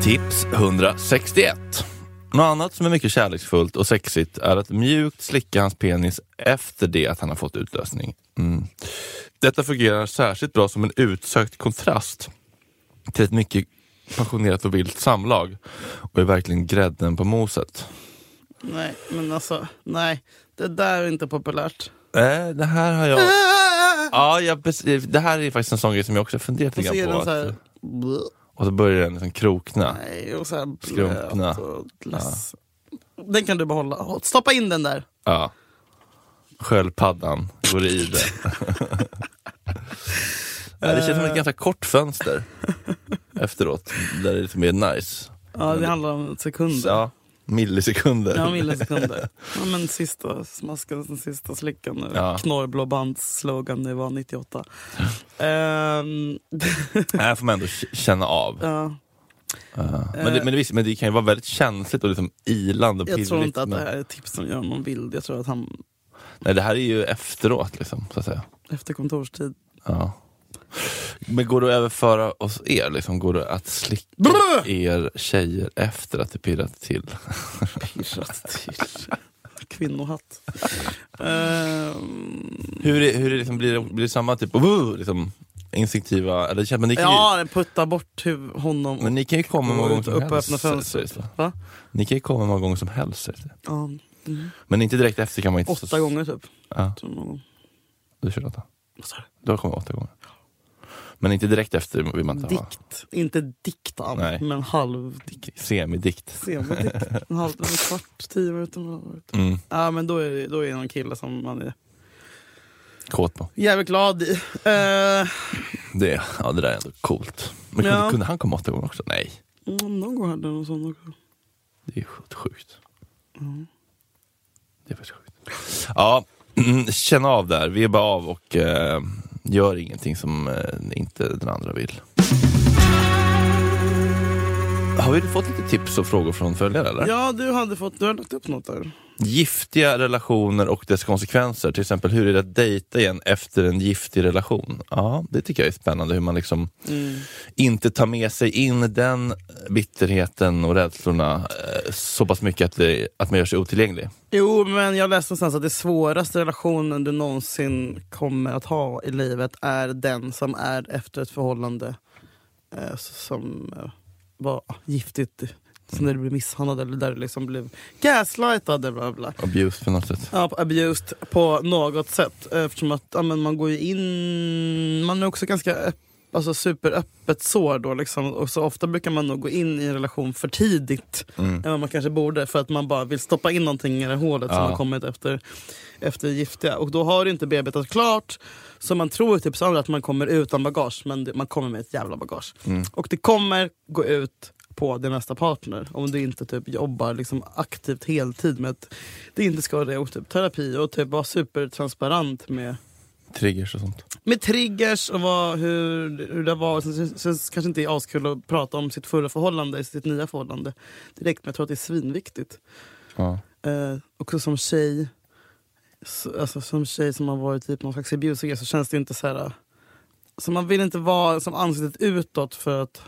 [SPEAKER 1] Tips 161. Något annat som är mycket kärleksfullt och sexigt är att mjukt slicka hans penis efter det att han har fått utlösning. Mm. Detta fungerar särskilt bra som en utsökt kontrast till ett mycket passionerat och vilt samlag och är verkligen grädden på moset.
[SPEAKER 2] Nej, men alltså, nej. Det där är inte populärt.
[SPEAKER 1] Nej, Eh, det här har jag...
[SPEAKER 2] *laughs*
[SPEAKER 1] Ja, jag, precis. det här är faktiskt en sån grej som jag också har funderat
[SPEAKER 2] Och så
[SPEAKER 1] lite
[SPEAKER 2] är
[SPEAKER 1] grann på.
[SPEAKER 2] den så här...
[SPEAKER 1] att- Och så börjar den liksom krokna.
[SPEAKER 2] Nej, och så här blöt
[SPEAKER 1] Skrumpna.
[SPEAKER 2] och glass. Den kan du behålla. Stoppa in den där.
[SPEAKER 1] Ja. Sköldpaddan går i
[SPEAKER 2] *laughs*
[SPEAKER 1] det. Ja, det känns som ett ganska kort fönster
[SPEAKER 2] *laughs*
[SPEAKER 1] efteråt, där det liksom är lite mer nice.
[SPEAKER 2] Ja, det handlar om sekunder. Ja.
[SPEAKER 1] Mm. Ja, millisekunder. *laughs*
[SPEAKER 2] millisekunder. Ja, men sista smasken, den sista slickan nu.
[SPEAKER 1] Ja.
[SPEAKER 2] Knorrblå bands slogan, det var 98. Ehm,
[SPEAKER 1] Här får man ändå k- känna av.
[SPEAKER 2] ja, eh.
[SPEAKER 1] Men, det, men, det, visst, men det kan ju vara väldigt känsligt och liksom ilande och
[SPEAKER 2] jag
[SPEAKER 1] pirrigt.
[SPEAKER 2] tror inte att det
[SPEAKER 1] men-
[SPEAKER 2] här är ett tips som gör någon vild. Jag tror att han
[SPEAKER 1] Nej, det här är ju efteråt, liksom, så att säga.
[SPEAKER 2] efter kontorstid...
[SPEAKER 1] Ja. Men går det att överföra oss er? Liksom, går det att slicka
[SPEAKER 2] Brr!
[SPEAKER 1] er tjejer efter att det pirrat till?
[SPEAKER 2] Pirrat till. Kvinnohatt. Ehm,
[SPEAKER 1] Hur, är, hur är liksom, blir, det, blir det samma typ av "Woo", liksom, instinktiva... Eller, känner- men ni kan ju,
[SPEAKER 2] ja, putta bort huv- honom.
[SPEAKER 1] men ni kan ju komma många
[SPEAKER 2] Gå
[SPEAKER 1] gånger
[SPEAKER 2] ut
[SPEAKER 1] som
[SPEAKER 2] och upp och
[SPEAKER 1] helst.
[SPEAKER 2] öppna fönstret.
[SPEAKER 1] sägs det.
[SPEAKER 2] Va?
[SPEAKER 1] Ni kan ju komma många gånger som helst. sägs det.
[SPEAKER 2] Ja, Mm.
[SPEAKER 1] Men inte direkt efter kan man inte...
[SPEAKER 2] åtta gånger typ.
[SPEAKER 1] Ja,
[SPEAKER 2] Tror någon gång.
[SPEAKER 1] du kör åtta.
[SPEAKER 2] Vad sa du?
[SPEAKER 1] Du har kommit åtta gånger. Men inte direkt efter vill man inte ha.
[SPEAKER 2] Dikt. Inte diktan,
[SPEAKER 1] Nej.
[SPEAKER 2] men halvdikt.
[SPEAKER 1] Semidikt.
[SPEAKER 2] Semidikt. En halv, en kvart, tio minuter. en halv minut.
[SPEAKER 1] Mm.
[SPEAKER 2] Ja, men då är, det, då är det någon kille som man är
[SPEAKER 1] Kåt på.
[SPEAKER 2] jävligt glad i. Eh,
[SPEAKER 1] Det, ja, det där är ändå coolt. Men kunde,
[SPEAKER 2] Ja.
[SPEAKER 1] kunde han komma åtta gånger också? Nej.
[SPEAKER 2] mm, någon gång hade jag någon sån också.
[SPEAKER 1] Det är sjukt sjukt. Det är faktiskt sjukt. Ja, *clears throat* mm, känn av där. Vibba av och eh, gör ingenting som eh, inte den andra vill. Har vi fått lite tips och frågor från följare eller?
[SPEAKER 2] Ja, du hade fått, du har lagt upp något där.
[SPEAKER 1] Giftiga relationer och dess konsekvenser. Till exempel hur är det att dejta igen efter en giftig relation? Ja, det tycker jag är spännande hur man liksom
[SPEAKER 2] Mm.
[SPEAKER 1] inte tar med sig in den bitterheten och rädslorna eh, så pass mycket att, det, att man gör sig otillgänglig.
[SPEAKER 2] Jo, men jag läste någonstans att det svåraste relationen du någonsin kommer att ha i livet är den som är efter ett förhållande eh, som eh, var giftigt. Som där du blev misshandlad eller där du liksom blev gaslightad. Eller bla bla.
[SPEAKER 1] Abuse på något sätt.
[SPEAKER 2] Ja, abused på något sätt. eh, Eftersom att ja, men man går ju in... Man är också ganska öpp, alltså superöppet sår då. Liksom. Och så ofta brukar man nog gå in i en relation för tidigt
[SPEAKER 1] Mm.
[SPEAKER 2] än vad man kanske borde. För att man bara vill stoppa in någonting i det hålet som
[SPEAKER 1] Ja.
[SPEAKER 2] har kommit efter, efter giftiga. Och då har det inte bearbetats klart. Så man tror typ så att man kommer utan bagage, men det, man kommer med ett jävla bagage.
[SPEAKER 1] Mm.
[SPEAKER 2] Och det kommer gå ut på din nästa partner om du inte typ jobbar liksom aktivt heltid med att det inte ska vara det och typ terapi och typ vara supertransparent med,
[SPEAKER 1] Triggers och sånt.
[SPEAKER 2] med triggers och vad, hur, hur det var. Sen, sen, sen kanske inte är askul att prata om sitt förra förhållande i sitt nya förhållande direkt men jag tror att det är svinviktigt.
[SPEAKER 1] Ja.
[SPEAKER 2] Eh, också som tjej, så, alltså som tjej som har varit typ någon slags abuser så känns det inte så här. eh, Så man vill inte vara som ansiktet utåt för att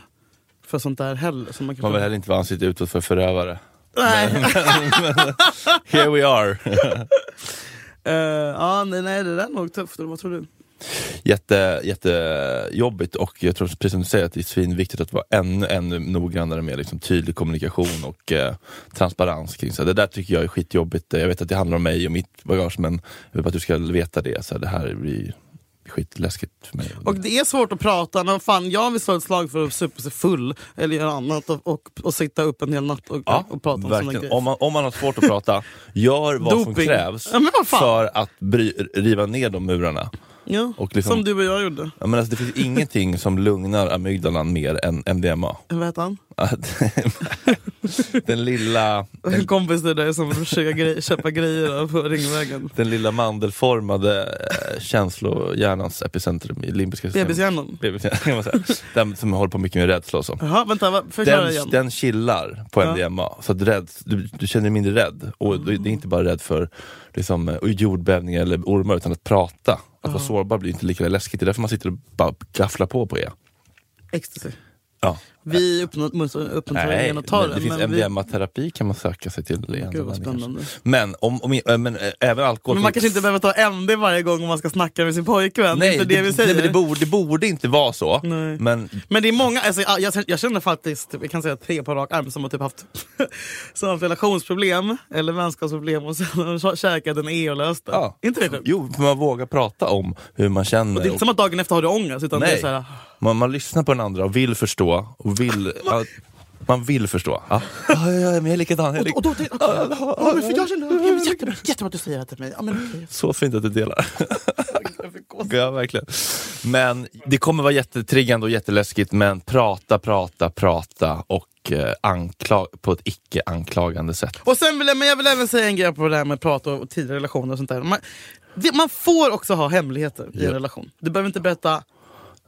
[SPEAKER 2] för sånt där heller. Så man kan
[SPEAKER 1] Man vill heller inte vara ansiktet utåt för förövare.
[SPEAKER 2] nej.
[SPEAKER 1] *laughs* Here we are!
[SPEAKER 2] *laughs* Eh, ja, nej, nej, det där är nog tufft. eller Vad tror du?
[SPEAKER 1] *laughs* Jätte, jättejobbigt och jag tror precis som du säger att det är svinviktigt att vara ännu, ännu noggrannare med liksom tydlig kommunikation och eh, transparens kring så här, Det där tycker jag är skitjobbigt. Eh, Jag vet att det handlar om mig och mitt bagage men jag vill bara att du ska veta det. Så här, det här blir skitläskigt för mig.
[SPEAKER 2] Och det är svårt att prata. Men fan, jag vill slå ett slag för att supa sig full eller göra annat och, och, och sitta upp en hel natt och,
[SPEAKER 1] Ja,
[SPEAKER 2] och prata om sådana
[SPEAKER 1] verkligen.
[SPEAKER 2] grejer.
[SPEAKER 1] Om man, om man har svårt att prata, gör vad som
[SPEAKER 2] Doping.
[SPEAKER 1] krävs
[SPEAKER 2] Ja, men vad fan.
[SPEAKER 1] för att bry, riva ner de murarna.
[SPEAKER 2] Ja,
[SPEAKER 1] Och liksom-
[SPEAKER 2] Som du och jag gjorde.
[SPEAKER 1] Ja, men alltså, det finns ingenting som lugnar amygdalan mer än MDMA.
[SPEAKER 2] Vad hette han?
[SPEAKER 1] Att- *laughs* den, lilla,
[SPEAKER 2] En kompis till dig som försöker grej, köpa grejer av på Ringvägen.
[SPEAKER 1] den lilla mandelformade eh, känslohjärnans epicentrum i limbiska systemet.
[SPEAKER 2] Bebishjärnan.
[SPEAKER 1] Bebishjärnan, kan man säga. Den som håller på mycket med rädsla och så.
[SPEAKER 2] Jaha, vänta, va- förklara igen.
[SPEAKER 1] Den, den chillar på
[SPEAKER 2] Ja. Mm.
[SPEAKER 1] MDMA, så att rädd, du, du känner dig mindre rädd. Och du- Det är inte bara rädd för liksom, eh, jordbävningar eller ormar, utan att prata. Att vara sårbar blir inte lika läskigt, det är därför man sitter och bara gafflar på E. på det.
[SPEAKER 2] Ecstasy.
[SPEAKER 1] Ja.
[SPEAKER 2] Vi uppmuntrar uppmuntrar
[SPEAKER 1] Nej,
[SPEAKER 2] ingen att ta
[SPEAKER 1] men
[SPEAKER 2] den.
[SPEAKER 1] det finns
[SPEAKER 2] men vi-
[SPEAKER 1] MDMA-terapi kan man söka sig till. i andra
[SPEAKER 2] Gud vad
[SPEAKER 1] länder kanske.
[SPEAKER 2] spännande.
[SPEAKER 1] Men, om, om, äh, men äh, även alkohol...
[SPEAKER 2] Men man kanske inte behöver ta MD varje gång om man ska snacka med sin pojkvän. det är
[SPEAKER 1] Nej,
[SPEAKER 2] inte det, vi säger.
[SPEAKER 1] Nej, men det, borde, det borde inte vara så.
[SPEAKER 2] Nej.
[SPEAKER 1] Men
[SPEAKER 2] Men det är många, alltså, jag, jag- jag känner faktiskt typ, jag kan säga tre på rak arm som har typ haft, *laughs* som har haft relationsproblem eller vänskapsproblem och sen har de käkat en E och löst det.
[SPEAKER 1] ja.
[SPEAKER 2] Inte det sjukt?
[SPEAKER 1] Jo, för man vågar prata om hur man känner.
[SPEAKER 2] Och Det är inte som att dagen efter har du ångest. Utan det är
[SPEAKER 1] Nej.
[SPEAKER 2] så här,
[SPEAKER 1] man, man lyssnar på den andra och vill förstå. Och vill,
[SPEAKER 2] Ah,
[SPEAKER 1] ja, man vill förstå. Ja. Ja, ja, ja, men jag är likadan. Jag är lik...
[SPEAKER 2] och då tänkte jag, ja, men för jag känner jag vill jättebra, jättebra att du säger det till mig. Ja, men, okej.
[SPEAKER 1] Så fint att du delar. *laughs* ja, verkligen. Men det kommer vara jättetriggande och jätteläskigt, men prata, prata, prata och eh, ankla- på ett icke-anklagande sätt.
[SPEAKER 2] Och sen vill jag, men jag vill även säga en grej på det här med prat och tidigare relationer och sånt där. Man, det, man får också ha hemligheter i en
[SPEAKER 1] Ja.
[SPEAKER 2] relation. Du behöver inte berätta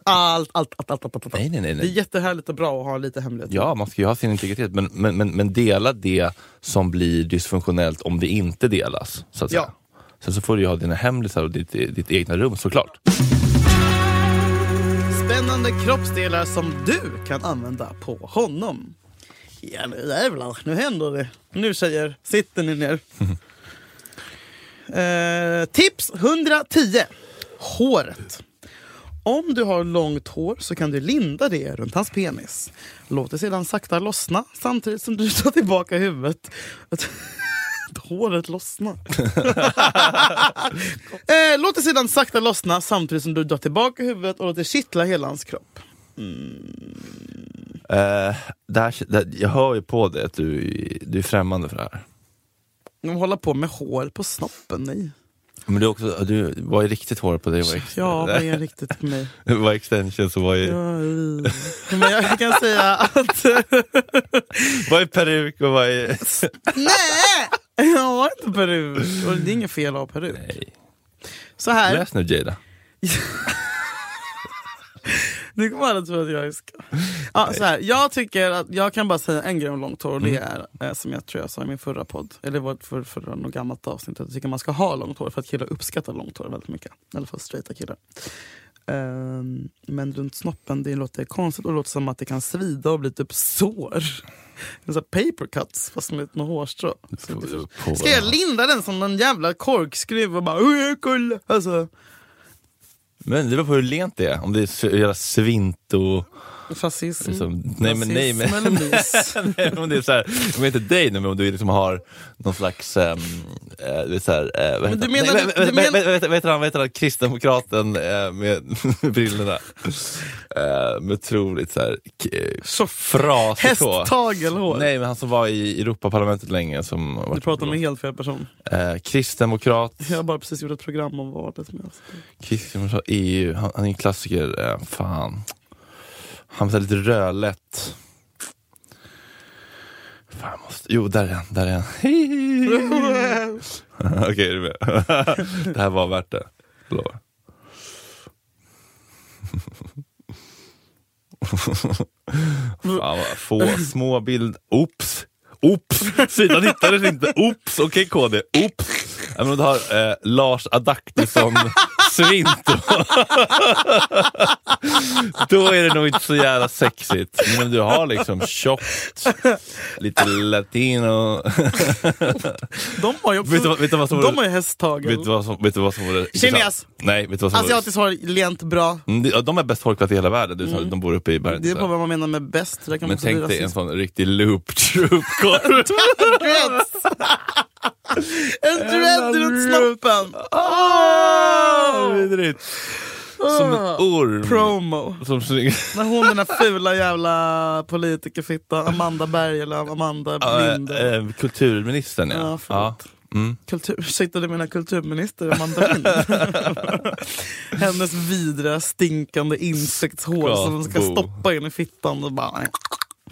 [SPEAKER 2] allt, allt, allt, allt, allt, allt, allt.
[SPEAKER 1] Nej, nej, nej,
[SPEAKER 2] Det är
[SPEAKER 1] nej.
[SPEAKER 2] jättehärligt och bra att ha lite hemligheter.
[SPEAKER 1] Ja, man ska ju ha sin integritet, men, men, men, men dela det som blir dysfunktionellt om det inte delas. Så att
[SPEAKER 2] Ja.
[SPEAKER 1] säga. Sen så får du ju ha dina hemlisar och ditt, ditt egna rum såklart.
[SPEAKER 2] Spännande kroppsdelar som du kan använda på honom. Ja, nu jävlar, nu händer det. Nu tjejer, sitter ni ner. *laughs* Eh, tips 110. Håret. Om du har långt hår så kan du linda det runt hans penis. Låt det sedan sakta lossna samtidigt som du *laughs* tar tillbaka huvudet. *laughs* Att- Håret *laughs* lossnar. Eh, låt det sedan sakta lossna samtidigt som du drar tillbaka huvudet och låter kittla hela hans kropp.
[SPEAKER 1] Eh, det här, det, här- jag hör ju på dig att du, du är främmande för det här.
[SPEAKER 2] De håller på med hår på snoppen, nej.
[SPEAKER 1] Men du, också, du var ju riktigt hård på dig. Var ex-
[SPEAKER 2] Ja,
[SPEAKER 1] *laughs*
[SPEAKER 2] vad är riktigt för mig?
[SPEAKER 1] var extensions och var ju,
[SPEAKER 2] *laughs* Ja, i. Men jag kan säga att...
[SPEAKER 1] var ju peruk och var ju...
[SPEAKER 2] *laughs* nej! Jag har inte peruk. Och det är inget fel att ha peruk.
[SPEAKER 1] Nej.
[SPEAKER 2] Så här,
[SPEAKER 1] Läs nu Jada.
[SPEAKER 2] nu kommer alla tro att jag är ska. Ja, så här. Jag tycker att jag kan bara säga en grej om långt hår och det
[SPEAKER 1] Mm.
[SPEAKER 2] är eh, som jag tror jag sa i min förra podd, eller vårt för, förra något gammalt avsnitt, att jag tycker man ska ha långt hår för att killar uppskattar långt hår väldigt mycket. I alla fall straighta killar. Ehm, men runt snoppen det låter konstigt och det låter som att det kan svida och bli typ sår. En sån här paper cuts fast med med hårstrå. Ska jag linda den som någon jävla korkskruv och bara "Oj, kolla? Alltså,
[SPEAKER 1] Men det beror på hur lent det är. Om det är så jävla svint och...
[SPEAKER 2] fascism.
[SPEAKER 1] Liksom, nej men nej men...
[SPEAKER 2] Rasism eller mys?
[SPEAKER 1] Nej, *laughs* om det är så här, om inte dig nu, men om du liksom har någon slags... ehm, eh, du vet så här, eh, vad
[SPEAKER 2] Men
[SPEAKER 1] heter
[SPEAKER 2] du menar-
[SPEAKER 1] han? Nej, vad-
[SPEAKER 2] du
[SPEAKER 1] vad-
[SPEAKER 2] menar-
[SPEAKER 1] vad- vad- vad- Vad heter han? Vad heter han? Kristdemokraten eh, med *laughs* med brillorna. Eh, Med otroligt så här, k- eh,
[SPEAKER 2] Så
[SPEAKER 1] frasigt hår.
[SPEAKER 2] Hästtagelhår.
[SPEAKER 1] Nej, men han som var i Europaparlamentet länge. Som har
[SPEAKER 2] Du
[SPEAKER 1] varit-
[SPEAKER 2] pratar med helt fel person.
[SPEAKER 1] eh, Kristdemokrat,
[SPEAKER 2] Jag har bara precis gjort ett program om valet. Med oss.
[SPEAKER 1] Kristdemokrat, EU. E Han, han är en klassiker. Eh, fan. Han var så här lite rödlätt. Fan, jag måste... Jo, där är han. Där är han. *laughs*
[SPEAKER 2] Mm.
[SPEAKER 1] Okej, är du med? *laughs* det här var värt det. Jag Lovar. *laughs* Fan vad få små bild. Oops! Oops! Sidan hittades inte. Oops! Okej KD, oops! Ja, men du har eh, Lars Adaktusson Svinto. Då är det nog inte så jävla sexigt. Men om du har liksom tjockt, lite latino.
[SPEAKER 2] De har ju också...
[SPEAKER 1] Vet du vad- vet du vad som var-
[SPEAKER 2] de har ju hästtagel.
[SPEAKER 1] Vet du vad som, vet du vad som vore intressant?
[SPEAKER 2] Kines.
[SPEAKER 1] Nej, vet du vad som vore...
[SPEAKER 2] Asiatiskt hår, lent, bra.
[SPEAKER 1] Mm, det- ja, De är bäst folkvett i hela världen. Du sa att De bor uppe i bergen.
[SPEAKER 2] Mm. Det är
[SPEAKER 1] så.
[SPEAKER 2] bara vad man menar med bäst. Där kan man
[SPEAKER 1] Men
[SPEAKER 2] också bli
[SPEAKER 1] tänk dig en
[SPEAKER 2] rasist.
[SPEAKER 1] sån riktig loop
[SPEAKER 2] *laughs*
[SPEAKER 1] troop-korv.
[SPEAKER 2] Dreads! en dread runt snoppen!
[SPEAKER 1] Ah, Vidrigt! Som en orm.
[SPEAKER 2] Promo.
[SPEAKER 1] Som
[SPEAKER 2] *laughs*
[SPEAKER 1] springer...
[SPEAKER 2] Ah. När hon den där fula jävla politikerfittan, Amanda Berg eller Amanda
[SPEAKER 1] Ja,
[SPEAKER 2] Lind.
[SPEAKER 1] eh, eh, kulturministern ja.
[SPEAKER 2] Ja, förlåt. kultur, ursäkta det menar kulturminister mandarin.
[SPEAKER 1] *laughs*
[SPEAKER 2] Hennes vidriga stinkande insektshår som hon ska
[SPEAKER 1] Bo.
[SPEAKER 2] stoppa in i fittan och bara...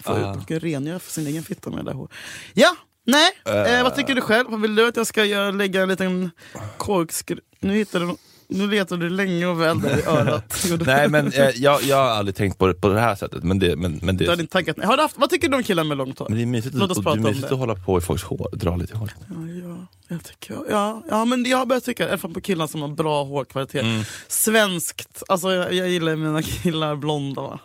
[SPEAKER 2] Få
[SPEAKER 1] Ah,
[SPEAKER 2] ut. Hon ska rengöra för sin egen fitta med det där håret. Ja, nej. Eh, vad tycker du själv? Vad Vill du att jag ska göra, lägga en liten korkskruv... Nu hittade du... Nu letar du länge och väl i
[SPEAKER 1] *laughs*
[SPEAKER 2] örat. Gjorde du?
[SPEAKER 1] Nej men eh, jag, jag har aldrig tänkt på det på det här sättet. Men det, men, men
[SPEAKER 2] Du
[SPEAKER 1] det,
[SPEAKER 2] hade inte taggat mig. Har du haft, vad tycker du om killar med långt hår?
[SPEAKER 1] men det är mysigt,
[SPEAKER 2] Låt oss
[SPEAKER 1] att- det
[SPEAKER 2] prata
[SPEAKER 1] är
[SPEAKER 2] om
[SPEAKER 1] mysigt
[SPEAKER 2] det.
[SPEAKER 1] att hålla på i folks hår, dra lite i håret.
[SPEAKER 2] Ja, jag tycker, ja, ja, men jag har börjat tycka, i alla fall på killar som har bra hårkvalitet. Svenskt, alltså jag, jag gillar ju mina *laughs* killar blonda. Va?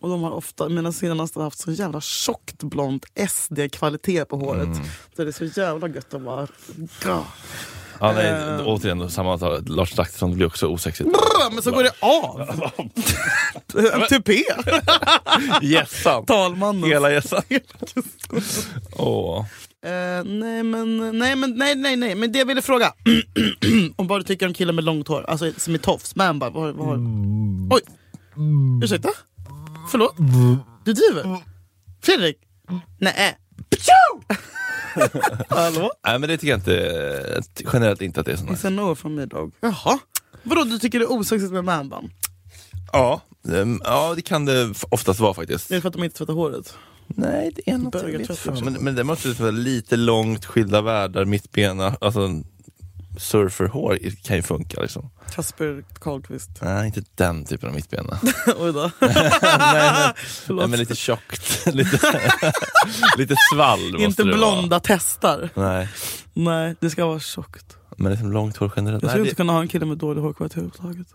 [SPEAKER 2] Och de har ofta, mina senaste har haft så jävla tjockt blont SD-kvalitet på håret. Så det är så jävla gött att bara... Ja.
[SPEAKER 1] Ja, nej,
[SPEAKER 2] Eh.
[SPEAKER 1] återigen, då samma tal. Lars Zachrisson blir också
[SPEAKER 2] *laughs*
[SPEAKER 1] osexigt.
[SPEAKER 2] Brr, Men så går det av! *laughs* En tupé!
[SPEAKER 1] Gässan! *laughs*
[SPEAKER 2] Talmannen.
[SPEAKER 1] Hela gässan. Åh.
[SPEAKER 2] Eh, nej, men, nej, men, nej, nej, nej, men det jag ville fråga. *clears throat* om vad du tycker om killar med långt hår, alltså som är tofs. Man bara, vad, vad har... Oj! Ursäkta? Förlåt? Du driver? Fredrik? Nej. Ptjo! *laughs* Hallå?
[SPEAKER 1] Nej men det tycker jag inte, generellt inte att det är sånt.
[SPEAKER 2] It's a no from me dog. Jaha. Vadå, du tycker det är osexigt med manband?
[SPEAKER 1] Ja, ehm, ja, det kan det f- oftast vara faktiskt.
[SPEAKER 2] Det är för att de inte tvättar håret.
[SPEAKER 1] Nej, det är något
[SPEAKER 2] Bögar
[SPEAKER 1] jag vet
[SPEAKER 2] tvättar
[SPEAKER 1] fan.
[SPEAKER 2] sig.
[SPEAKER 1] men, men det måste vara lite långt skilda världar, mittbena, alltså surferhår kan ju funka liksom.
[SPEAKER 2] Kasper Karlqvist.
[SPEAKER 1] Nej, inte den typen av mittbena.
[SPEAKER 2] *laughs* Oj då.
[SPEAKER 1] nej, men, nej,
[SPEAKER 2] *laughs* Förlåt.
[SPEAKER 1] men lite tjockt, *laughs* lite, lite svall måste
[SPEAKER 2] inte
[SPEAKER 1] det vara.
[SPEAKER 2] blonda testar.
[SPEAKER 1] Nej,
[SPEAKER 2] Nej, det ska vara tjockt.
[SPEAKER 1] men liksom långt hår generellt.
[SPEAKER 2] Jag
[SPEAKER 1] Nej,
[SPEAKER 2] skulle inte kunna ha en kille med dålig
[SPEAKER 1] *laughs*
[SPEAKER 2] hårkvalitet överhuvudtaget.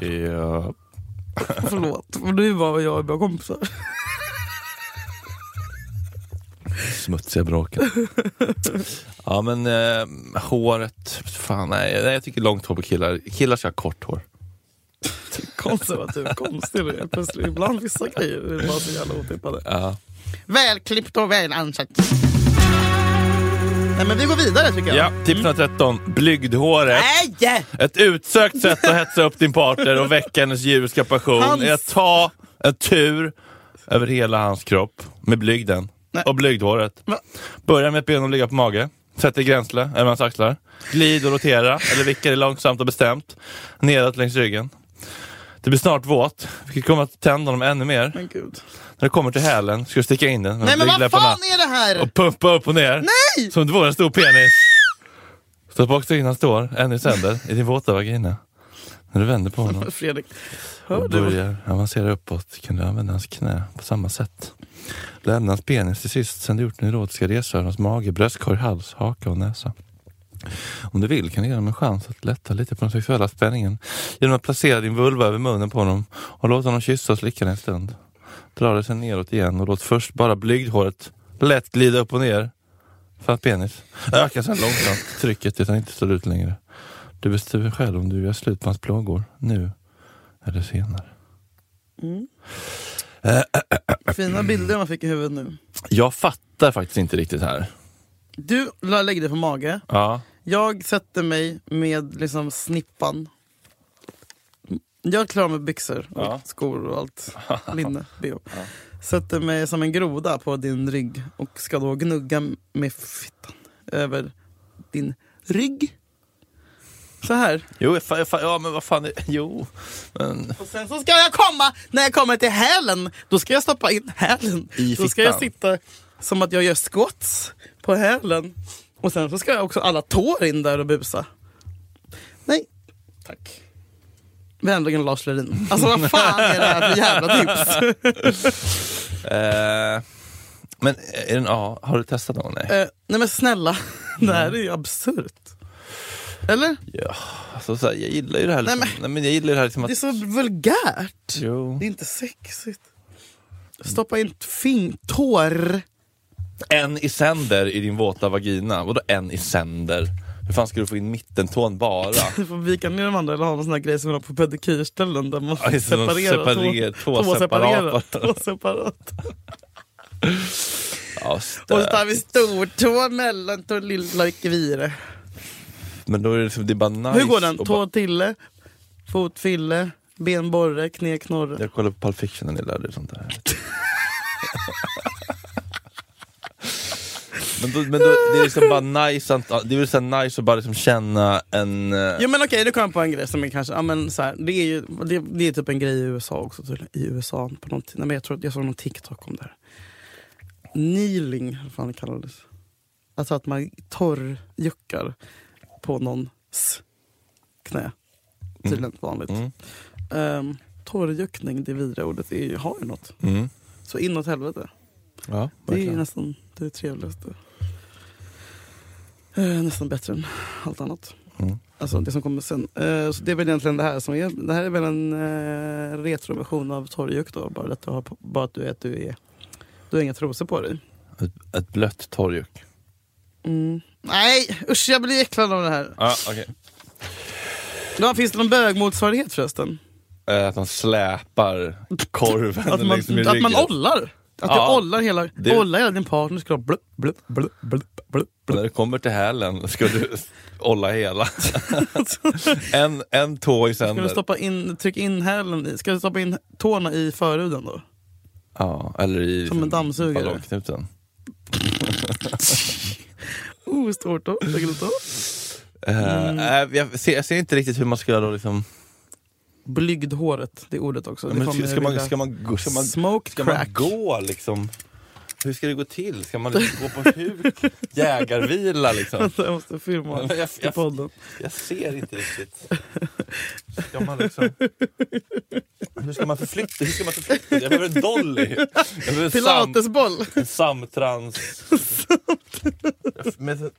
[SPEAKER 1] det, ja,
[SPEAKER 2] Förlåt, men du är bara jag och mina kompisar. *laughs*
[SPEAKER 1] smutsiga bråken. ja men eh, håret, fan nej, nej jag tycker långt hår på killar. Killar ska ha kort hår.
[SPEAKER 2] Konservativ, konstig du är plötsligt. Ibland vissa grejer är bara så jävla otippade.
[SPEAKER 1] Ja.
[SPEAKER 2] Välklippt och väl ansatt. Nej men vi går vidare tycker jag.
[SPEAKER 1] Ja, tips nummer 13. Blygdhåret.
[SPEAKER 2] Nej!
[SPEAKER 1] Ett utsökt sätt att hetsa upp din partner och väcka hennes djuriska passion
[SPEAKER 2] Hans-
[SPEAKER 1] är att ta en tur över hela hans kropp med blygden
[SPEAKER 2] Nej.
[SPEAKER 1] och blygdhåret.
[SPEAKER 2] Va?
[SPEAKER 1] Börja med ett ben och ligga på mage. Sätt dig i gränsle över hans axlar. Glid och rotera, eller vicka dig långsamt och bestämt nedåt längs ryggen. Du blir snart våt, vilket kommer att tända honom ännu mer.
[SPEAKER 2] Men gud.
[SPEAKER 1] När du kommer till hälen ska du sticka in den med
[SPEAKER 2] Nej men vad
[SPEAKER 1] blygdläpparna
[SPEAKER 2] fan är det här?
[SPEAKER 1] och pumpa upp och ner.
[SPEAKER 2] Nej!
[SPEAKER 1] Som det vore en stor penis. Så att bakstyckarna står, en i sänder, i din våta vagina. När du vänder på honom
[SPEAKER 2] Fredrik, hör
[SPEAKER 1] och
[SPEAKER 2] du?
[SPEAKER 1] börjar avancera uppåt kan du använda hans knä på samma sätt. Lämna hans penis till sist, sen du gjort din erotiska resa över hans mage, bröstkorg, hals, haka och näsa. Om du vill kan du ge honom en chans att lätta lite på den sexuella spänningen genom att placera din vulva över munnen på honom och låta honom kyssa och slicka dig en stund. Dra dig sen neråt igen och låt först bara blygdhåret lätt glida upp och ner för att penis. Öka sen långsamt trycket tills han inte står ut längre. Du bestämmer själv om du gör slut på hans plågor, nu eller senare.
[SPEAKER 2] Fina bilder man fick i huvudet nu.
[SPEAKER 1] Jag fattar faktiskt inte riktigt här.
[SPEAKER 2] Du la- lägger dig på mage.
[SPEAKER 1] Ja.
[SPEAKER 2] Jag sätter mig med liksom snippan. Jag klarar med byxor och
[SPEAKER 1] Ja.
[SPEAKER 2] skor
[SPEAKER 1] *laughs*
[SPEAKER 2] och allt. Linne, bh. Sätter mig som en groda på din rygg och ska då gnugga med fittan över din rygg. Så här.
[SPEAKER 1] Jo, jag fa- jag fa- ja men vad fan, är- jo. Men,
[SPEAKER 2] Och sen så ska jag komma, när jag kommer till hälen, då ska jag stoppa in hälen.
[SPEAKER 1] I
[SPEAKER 2] då ska jag
[SPEAKER 1] fittan.
[SPEAKER 2] sitta som att jag gör squats på hälen. Och sen så ska jag också alla tår in där och busa. Nej, tack. Vänligen Lars Lerin. Alltså vad fan är det här för jävla *laughs* tips?
[SPEAKER 1] eh, men är den, ja, har du testat någon? Nej.
[SPEAKER 2] Eh, nej men snälla, *laughs* det här är ju absurt. Eller?
[SPEAKER 1] Ja, alltså, så här, jag gillar ju det här liksom. Nej,
[SPEAKER 2] Nej,
[SPEAKER 1] men, jag gillar det här liksom att...
[SPEAKER 2] Det är så vulgärt.
[SPEAKER 1] Jo.
[SPEAKER 2] Det är inte sexigt. Stoppa in fing, tår.
[SPEAKER 1] En i sänder i din våta vagina. Vadå en i sänder? Hur fan ska du få in mittentån
[SPEAKER 2] *laughs*
[SPEAKER 1] bara?
[SPEAKER 2] Du får vika ner de andra eller ha någon sån här grej som man har på pedikyrställen där man
[SPEAKER 1] Ja, just det, de
[SPEAKER 2] separerar
[SPEAKER 1] separerar- två separat.
[SPEAKER 2] *laughs* Två separat.
[SPEAKER 1] Ja,
[SPEAKER 2] Och så tar
[SPEAKER 1] stö.
[SPEAKER 2] vi stortå, mellantå, lilla och kvire.
[SPEAKER 1] Men då är det, liksom, det är bara nice.
[SPEAKER 2] Hur går den?
[SPEAKER 1] och
[SPEAKER 2] Tå
[SPEAKER 1] bara-
[SPEAKER 2] tille, fot fille, ben borre, knä knorre.
[SPEAKER 1] Jag kollade på Pulp Fiction när ni lärde er sånt där. Men, då, men då, det är liksom bara nice att, det är väl så här nice att bara liksom känna en... eh,
[SPEAKER 2] Ja men okej, nu kom jag på en grej som är kanske, ja, men så här, det, är ju, det, det är typ en grej i USA också tydligen. I USA på någonting. Nej, men jag, tror, jag såg någon TikTok om det här. Kneeling, vad fan det kallades. Alltså att man torrjuckar på någons knä. Tydligen vanligt.
[SPEAKER 1] Mm.
[SPEAKER 2] Ehm, torrjuckning, det vidriga ordet, är, ju- har ju något.
[SPEAKER 1] Mm.
[SPEAKER 2] Så inåt helvete.
[SPEAKER 1] Ja,
[SPEAKER 2] Det är ju
[SPEAKER 1] verkligen.
[SPEAKER 2] nästan det trevligaste. Eh, nästan bättre än allt annat.
[SPEAKER 1] Mm.
[SPEAKER 2] Alltså det som kommer sen. Eh, så det är väl egentligen det här som är. Det här är väl en eh, retroversion av torrjuck då. Bara att du, har, bara att du, är, att du, är, du har inga trosor på dig.
[SPEAKER 1] Ett, ett blött torrjuck.
[SPEAKER 2] Mm. Nej usch jag blir äcklad av det här.
[SPEAKER 1] Ah, okay.
[SPEAKER 2] Då, finns det någon bögmotsvarighet förresten?
[SPEAKER 1] Eh, Att han släpar korven
[SPEAKER 2] Att man,
[SPEAKER 1] liksom i
[SPEAKER 2] att man
[SPEAKER 1] ryggen.
[SPEAKER 2] ollar? Att
[SPEAKER 1] Ja.
[SPEAKER 2] du ollar hela,
[SPEAKER 1] Det-
[SPEAKER 2] ollar hela din partner skulle ha blupp, blupp, blupp, blupp, blupp.
[SPEAKER 1] När det kommer till hälen ska du olla
[SPEAKER 2] *laughs*
[SPEAKER 1] hela. en, en tå i
[SPEAKER 2] Ska du
[SPEAKER 1] sänder.
[SPEAKER 2] stoppa in, tryck in hälen i, ska du stoppa in tårna i förhuden då?
[SPEAKER 1] Ja, eller i
[SPEAKER 2] Som en dammsugare.
[SPEAKER 1] ballongknuten.
[SPEAKER 2] Oh, stort då. Vilket då?
[SPEAKER 1] Eh,
[SPEAKER 2] Mm.
[SPEAKER 1] eh, jag, ser, jag ser inte riktigt hur man ska göra då liksom...
[SPEAKER 2] Blygdhåret, det är ordet också. Det
[SPEAKER 1] Men,
[SPEAKER 2] kommer
[SPEAKER 1] ska, ska, man,
[SPEAKER 2] vilja-
[SPEAKER 1] ska, man, gå- ska, man,
[SPEAKER 2] Smoke
[SPEAKER 1] ska man
[SPEAKER 2] crack. *laughs*
[SPEAKER 1] gå liksom? Hur ska det gå till? Ska man liksom gå på
[SPEAKER 2] *laughs*
[SPEAKER 1] huk? Jägarvila liksom?
[SPEAKER 2] jag måste filma
[SPEAKER 1] Men jag-
[SPEAKER 2] i
[SPEAKER 1] jag-
[SPEAKER 2] podden.
[SPEAKER 1] Jag ser inte riktigt. Ska man liksom... Hur ska man förflytta? Hur ska man förflytta? Jag behöver en dolly. Jag behöver en sam,
[SPEAKER 2] Pilatesboll!
[SPEAKER 1] en samtrans... Men,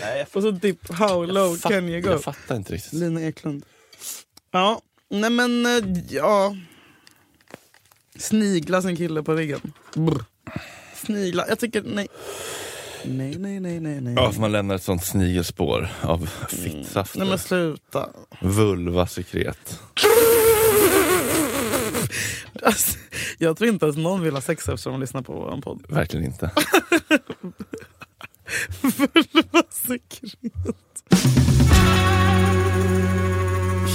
[SPEAKER 1] nej, jag,
[SPEAKER 2] Och så typ how low
[SPEAKER 1] jag, fatt,
[SPEAKER 2] can you go?
[SPEAKER 1] jag fattar inte riktigt.
[SPEAKER 2] Lina Eklund. Ja, nej men eh, ja. Snigla sin kille på ryggen. Brr. Snigla, jag tycker nej. Nej, nej, nej, nej, nej.
[SPEAKER 1] Ja, för man lämnar ett sånt snigelspår av fittsafter.
[SPEAKER 2] Mm. Nej men sluta.
[SPEAKER 1] Vulvasekret.
[SPEAKER 2] Alltså, jag tror inte ens någon vill ha sex eftersom de lyssnar på vår podd.
[SPEAKER 1] Verkligen *laughs* inte.
[SPEAKER 2] Sekret.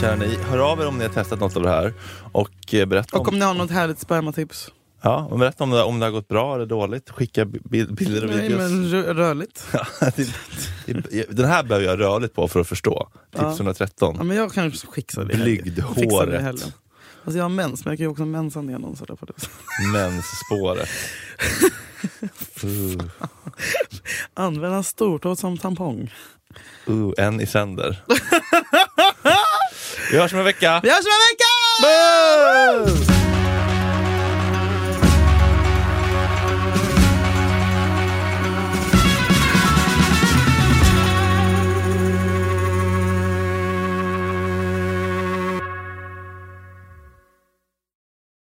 [SPEAKER 1] Kära ni, hör av er om ni har testat något av det här. Och eh, berätta om,
[SPEAKER 2] Och om ni har något härligt spermatips.
[SPEAKER 1] ja, och berätta om, det, om det har gått bra eller dåligt. Skicka bi- bild, bilder och
[SPEAKER 2] Nej
[SPEAKER 1] videos. *laughs*
[SPEAKER 2] men rö- rörligt.
[SPEAKER 1] Det- det- Den här behöver jag rörligt på för att förstå. Tips
[SPEAKER 2] Ja.
[SPEAKER 1] 113.
[SPEAKER 2] Ja, men jag kanske fixar det i helgen. Jag fixar det i
[SPEAKER 1] Blygdhåret.
[SPEAKER 2] helgen. Alltså jag har mens, men jag kan ju också mensa ner någon sådär på det. *laughs*
[SPEAKER 1] Mensspåret. Uh,
[SPEAKER 2] Använda en stortå som tampong.
[SPEAKER 1] uh, en i
[SPEAKER 2] *laughs*
[SPEAKER 1] sänder. Vi hörs om en vecka.
[SPEAKER 2] Vi hörs om en vecka!
[SPEAKER 1] Boo!